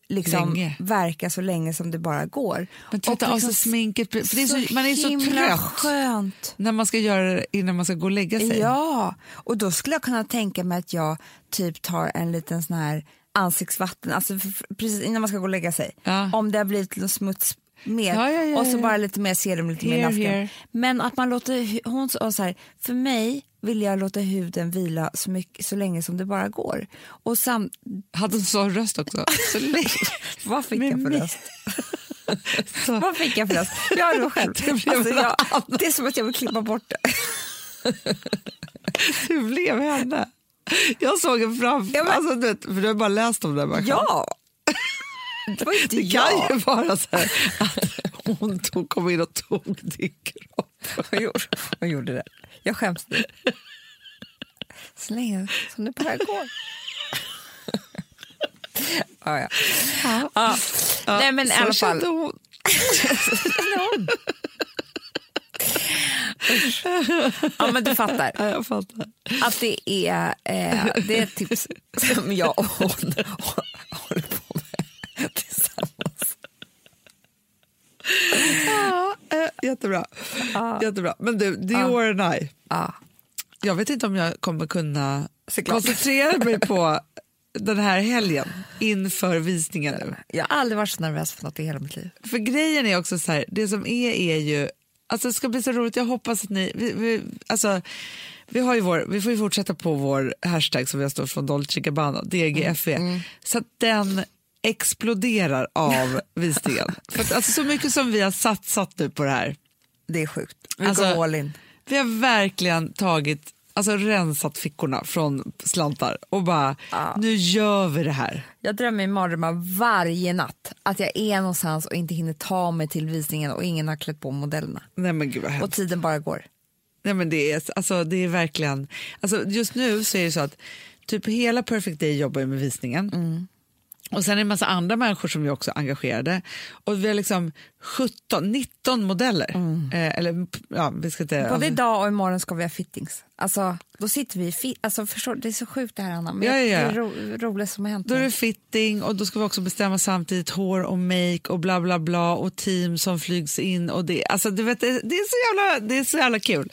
B: liksom
A: Länge.
B: verka så länge som det bara går.
A: Men tvätta
B: Och liksom
A: av sig sminket, för det är så, man är så
B: himla
A: trött
B: skönt.
A: när man ska göra det innan man ska gå och lägga sig.
B: Ja, och då skulle jag kunna tänka mig att jag typ tar en liten sån här ansiktsvatten, alltså f- f- precis innan man ska gå och lägga sig.
A: Ja.
B: Om det har blivit något smuts mer
A: Ja, ja, ja,
B: och så
A: ja.
B: bara lite mer serum, lite mer
A: Here,
B: nattkrem.
A: here.
B: Men att man låter, hu- hon sa så här, för mig vill jag låta huden vila så, mycket, så länge som det bara går. Och sam,
A: Hade hon sån röst också? Så länge.
B: vad fick
A: Med
B: jag för
A: mig.
B: röst?
A: Så.
B: Vad fick jag för röst? Jag var själv.
A: Det blev
B: Alltså,
A: en
B: jag, det är som att jag vill klippa bort det.
A: Hur blev henne? Jag såg en framför
B: Ja, men-
A: alltså, du, vet, för du har bara läst om den här människan.
B: Ja! Det var ju inte
A: Det
B: jag.
A: kan ju vara så här att hon tog, kom in och tog din kropp.
B: Hon gjorde, hon gjorde det. Jag skäms nu. Så länge som det bara går. ja, ja. Ja. Nej, men i
A: så
B: alla fall.
A: kände hon.
B: Ja, men du fattar.
A: Ja, jag fattar.
B: Att det är, eh, det är ett tips som jag och hon hå- håller på med tillsammans.
A: Ja, eh, jättebra. jättebra. Men du, Dior and I.
B: Ja.
A: Jag vet inte om jag kommer kunna koncentrera mig på den här helgen inför visningen nu.
B: Jag har aldrig varit så nervös för något i hela mitt liv.
A: För grejen är också så här, det som är är ju, alltså det ska bli så roligt, jag hoppas att ni, vi, vi, alltså vi, har ju vår, vi får ju fortsätta på vår hashtag som vi har stått från Dolce Gabbana, DGFV, E.
B: Mm,
A: så att den exploderar av visningen. För att, alltså, så mycket som vi har satsat nu på det här.
B: Det är sjukt. Vi
A: Alltså,
B: går all in.
A: Vi har verkligen tagit, alltså rensat fickorna från slantar och bara, nu gör vi det här.
B: Jag drömmer i mardrömmar varje natt att jag är någonstans och inte hinner ta mig till visningen och ingen har klätt på modellerna.
A: Nej men gud vad hemskt.
B: Och tiden bara går.
A: Nej, men det, är, alltså, det är verkligen... Alltså, just nu så är det så att typ hela Perfect Day jobbar ju med visningen. Och sen är det en massa andra människor som ju också är engagerade. Och vi har liksom 17, 19 modeller. Eh, eller ja, vi ska inte...
B: Både idag och imorgon ska vi ha fittings. Alltså, då sitter vi i fi- alltså, förstår, Det är så sjukt det här Anna, men
A: Ja, ja, ja.
B: det är ro- roligt som har hänt.
A: Då är
B: nu.
A: det fitting och då ska vi också bestämma samtidigt hår och make och bla bla bla och team som flygs in och det, alltså du vet, det, det, är, så jävla, det är så jävla kul.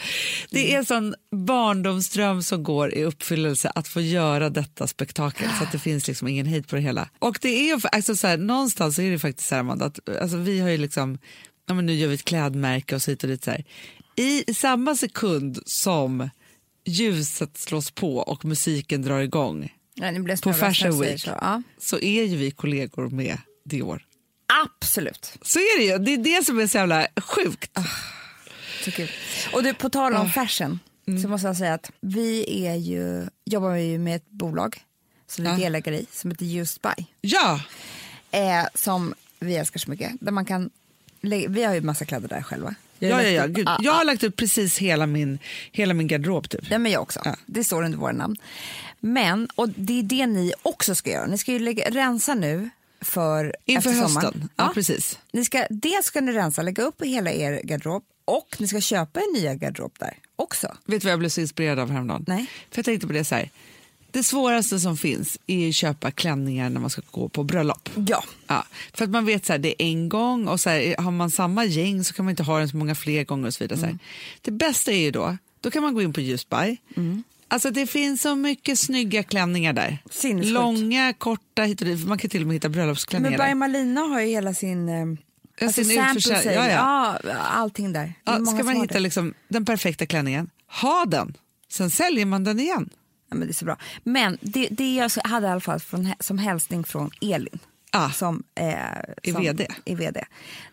A: Det är sån barndomsdröm som går i uppfyllelse att få göra detta spektakel så att det finns liksom ingen hate på det hela. Och det är ju, alltså så här, någonstans är det faktiskt så här Amanda, att alltså, vi har ju liksom, ja men nu gör vi ett klädmärke och så hit och dit så här. I samma sekund som ljuset slås på och musiken drar igång
B: Nej, nu blir jag
A: på
B: snurrig,
A: Fashion
B: jag säger
A: Week
B: så. Ja.
A: så är ju vi kollegor med Dior.
B: Absolut.
A: Så är det ju. Det är det som är så jävla sjukt.
B: Ah. Så kul. Och du, på tal om fashion så
A: Mm.
B: måste jag säga att vi är ju, jobbar ju med ett bolag som vi
A: Ja.
B: delägare i som heter Just Buy.
A: Ja,
B: eh, som vi älskar så mycket. Där man kan lä- vi har ju massa kläder där själva. har
A: Ja, ja,
B: lagt
A: ja.
B: upp-
A: Gud,
B: Ah,
A: jag har lagt upp precis hela min, hela min garderob. Typ.
B: Ja, men jag också. Det står under våra namn. Men, och det är det ni också ska göra. Ni ska ju lägga, rensa nu för
A: Inför
B: efter
A: hösten.
B: sommaren.
A: Ja, precis.
B: Ni ska, dels ska ni rensa, lägga upp hela er garderob och ni ska köpa er nya garderob där också.
A: Vet du vad jag blev så inspirerad av häromdagen?
B: Nej.
A: För jag tänkte på det så här. Det svåraste som finns är ju att köpa klänningar när man ska gå på bröllop.
B: Ja.
A: Ja, för att man vet så här, det är en gång och så här, har man samma gäng så kan man inte ha den så många fler gånger och så vidare. Så
B: Mm.
A: här. Det bästa är ju då, då kan man gå in på Ljusby.
B: Mm.
A: Alltså det finns så mycket snygga klänningar där.
B: Sinnessjukt.
A: Långa, korta, hit och dit. Man kan till och med hitta bröllopsklänningar
B: Men
A: där.
B: Berg Malina har ju hela sin... eh,
A: sin
B: sample
A: utförsälj-
B: sale.
A: ja, ja.
B: ja, allting där. Det är
A: Ja,
B: många
A: ska
B: som
A: man
B: har
A: hitta
B: det.
A: liksom, den perfekta klänningen, ha den. Sen säljer man den igen.
B: Ja, men det är så bra. Men det, det alltså, jag hade i alla fall från, som hälsning från Elin.
A: Ah.
B: Som, eh,
A: Är
B: som
A: VD.
B: Är vd.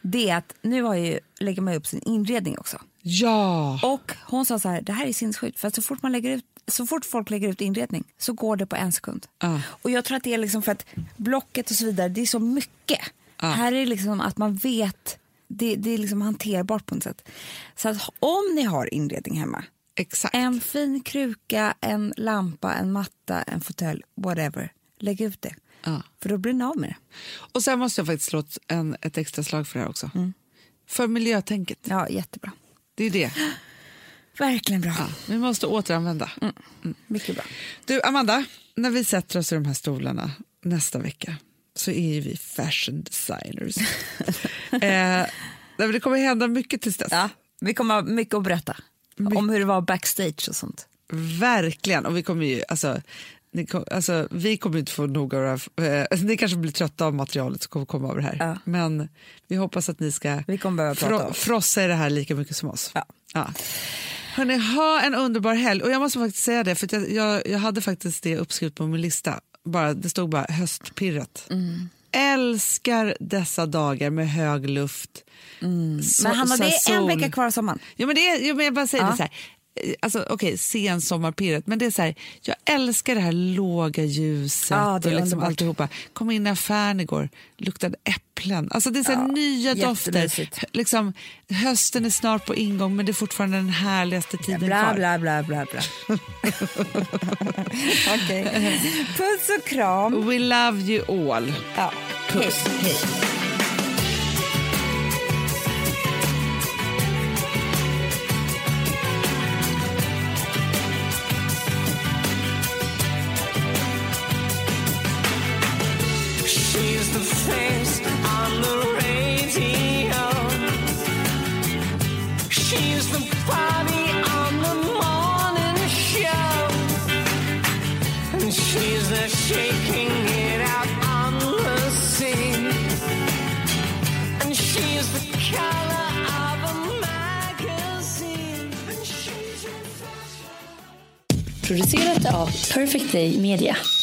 B: Det är att nu har ju, lägger man ju upp sin inredning också.
A: Ja!
B: Och hon sa så här, det här är sinnessjukt. För att så fort, man lägger ut, så fort folk lägger ut inredning så går det på en sekund.
A: Ah.
B: Och jag tror att det är liksom för att blocket och så vidare, det är så mycket. Här är det liksom att man vet, det, det är liksom hanterbart på något sätt. Så att om ni har inredning hemma,
A: Exakt.
B: en fin kruka, en lampa, en matta, en fåtölj, whatever. Lägg ut det.
A: Ja.
B: För då blir ni av med det.
A: Och sen måste jag faktiskt slå ett- en, ett extra slag för det här också.
B: Mm.
A: För miljötänket,
B: Ja, jättebra.
A: det är det.
B: Verkligen bra.
A: Ja, vi måste återanvända.
B: Mycket bra.
A: Du, Amanda, när vi sätter oss i de här stolarna nästa vecka så är ju vi fashion designers. eh, nej, men det kommer hända mycket tills dess.
B: Ja, vi kommer ha mycket att berätta. Om hur det var backstage och sånt.
A: Verkligen. Och vi kommer ju, alltså, ni, kom- alltså, vi kommer inte få nog av det här. Eh, alltså, ni kanske blir trötta av materialet som kommer komma av det här.
B: Ja.
A: Men vi hoppas att ni ska
B: Vi kommer behöva prata om det.
A: frossa i det här lika mycket som oss.
B: Ja.
A: Ja. Hörrni, ha en underbar helg. Och jag måste faktiskt säga det, för att jag, jag, jag hade faktiskt det uppskrivet på min lista. Bara, det stod bara höstpirret.
B: Mm.
A: Älskar dessa dagar med hög luft. so-
B: Mm. Men Hanna, det är en
A: sol.
B: vecka kvar av sommaren.
A: Ja, men det är, ja, men jag bara säger
B: Ja.
A: det så här. Eh, Alltså, Okej, sensommarpirret, men det är så här, jag älskar det här låga ljuset
B: Ja, det är
A: och liksom
B: underbart.
A: alltihopa. Kom in i affären igår, luktade äpplen. Alltså det är så här, nya dofter.
B: jättemysigt.
A: Hö- Liksom, hösten är snart på ingång, men det är fortfarande den härligaste tiden
B: Bla,
A: kvar.
B: bla, bla, bla, bla. Okej. Puss och kram.
A: We love you all.
B: Ja.
A: Puss.
B: Hej, hej.
G: She's the face on the radio. She's the body on the morning show. And she's the shaking it out on the scene. And she's the color of a magazine. And she's your fashion.
H: producerat av Perfect Day Media.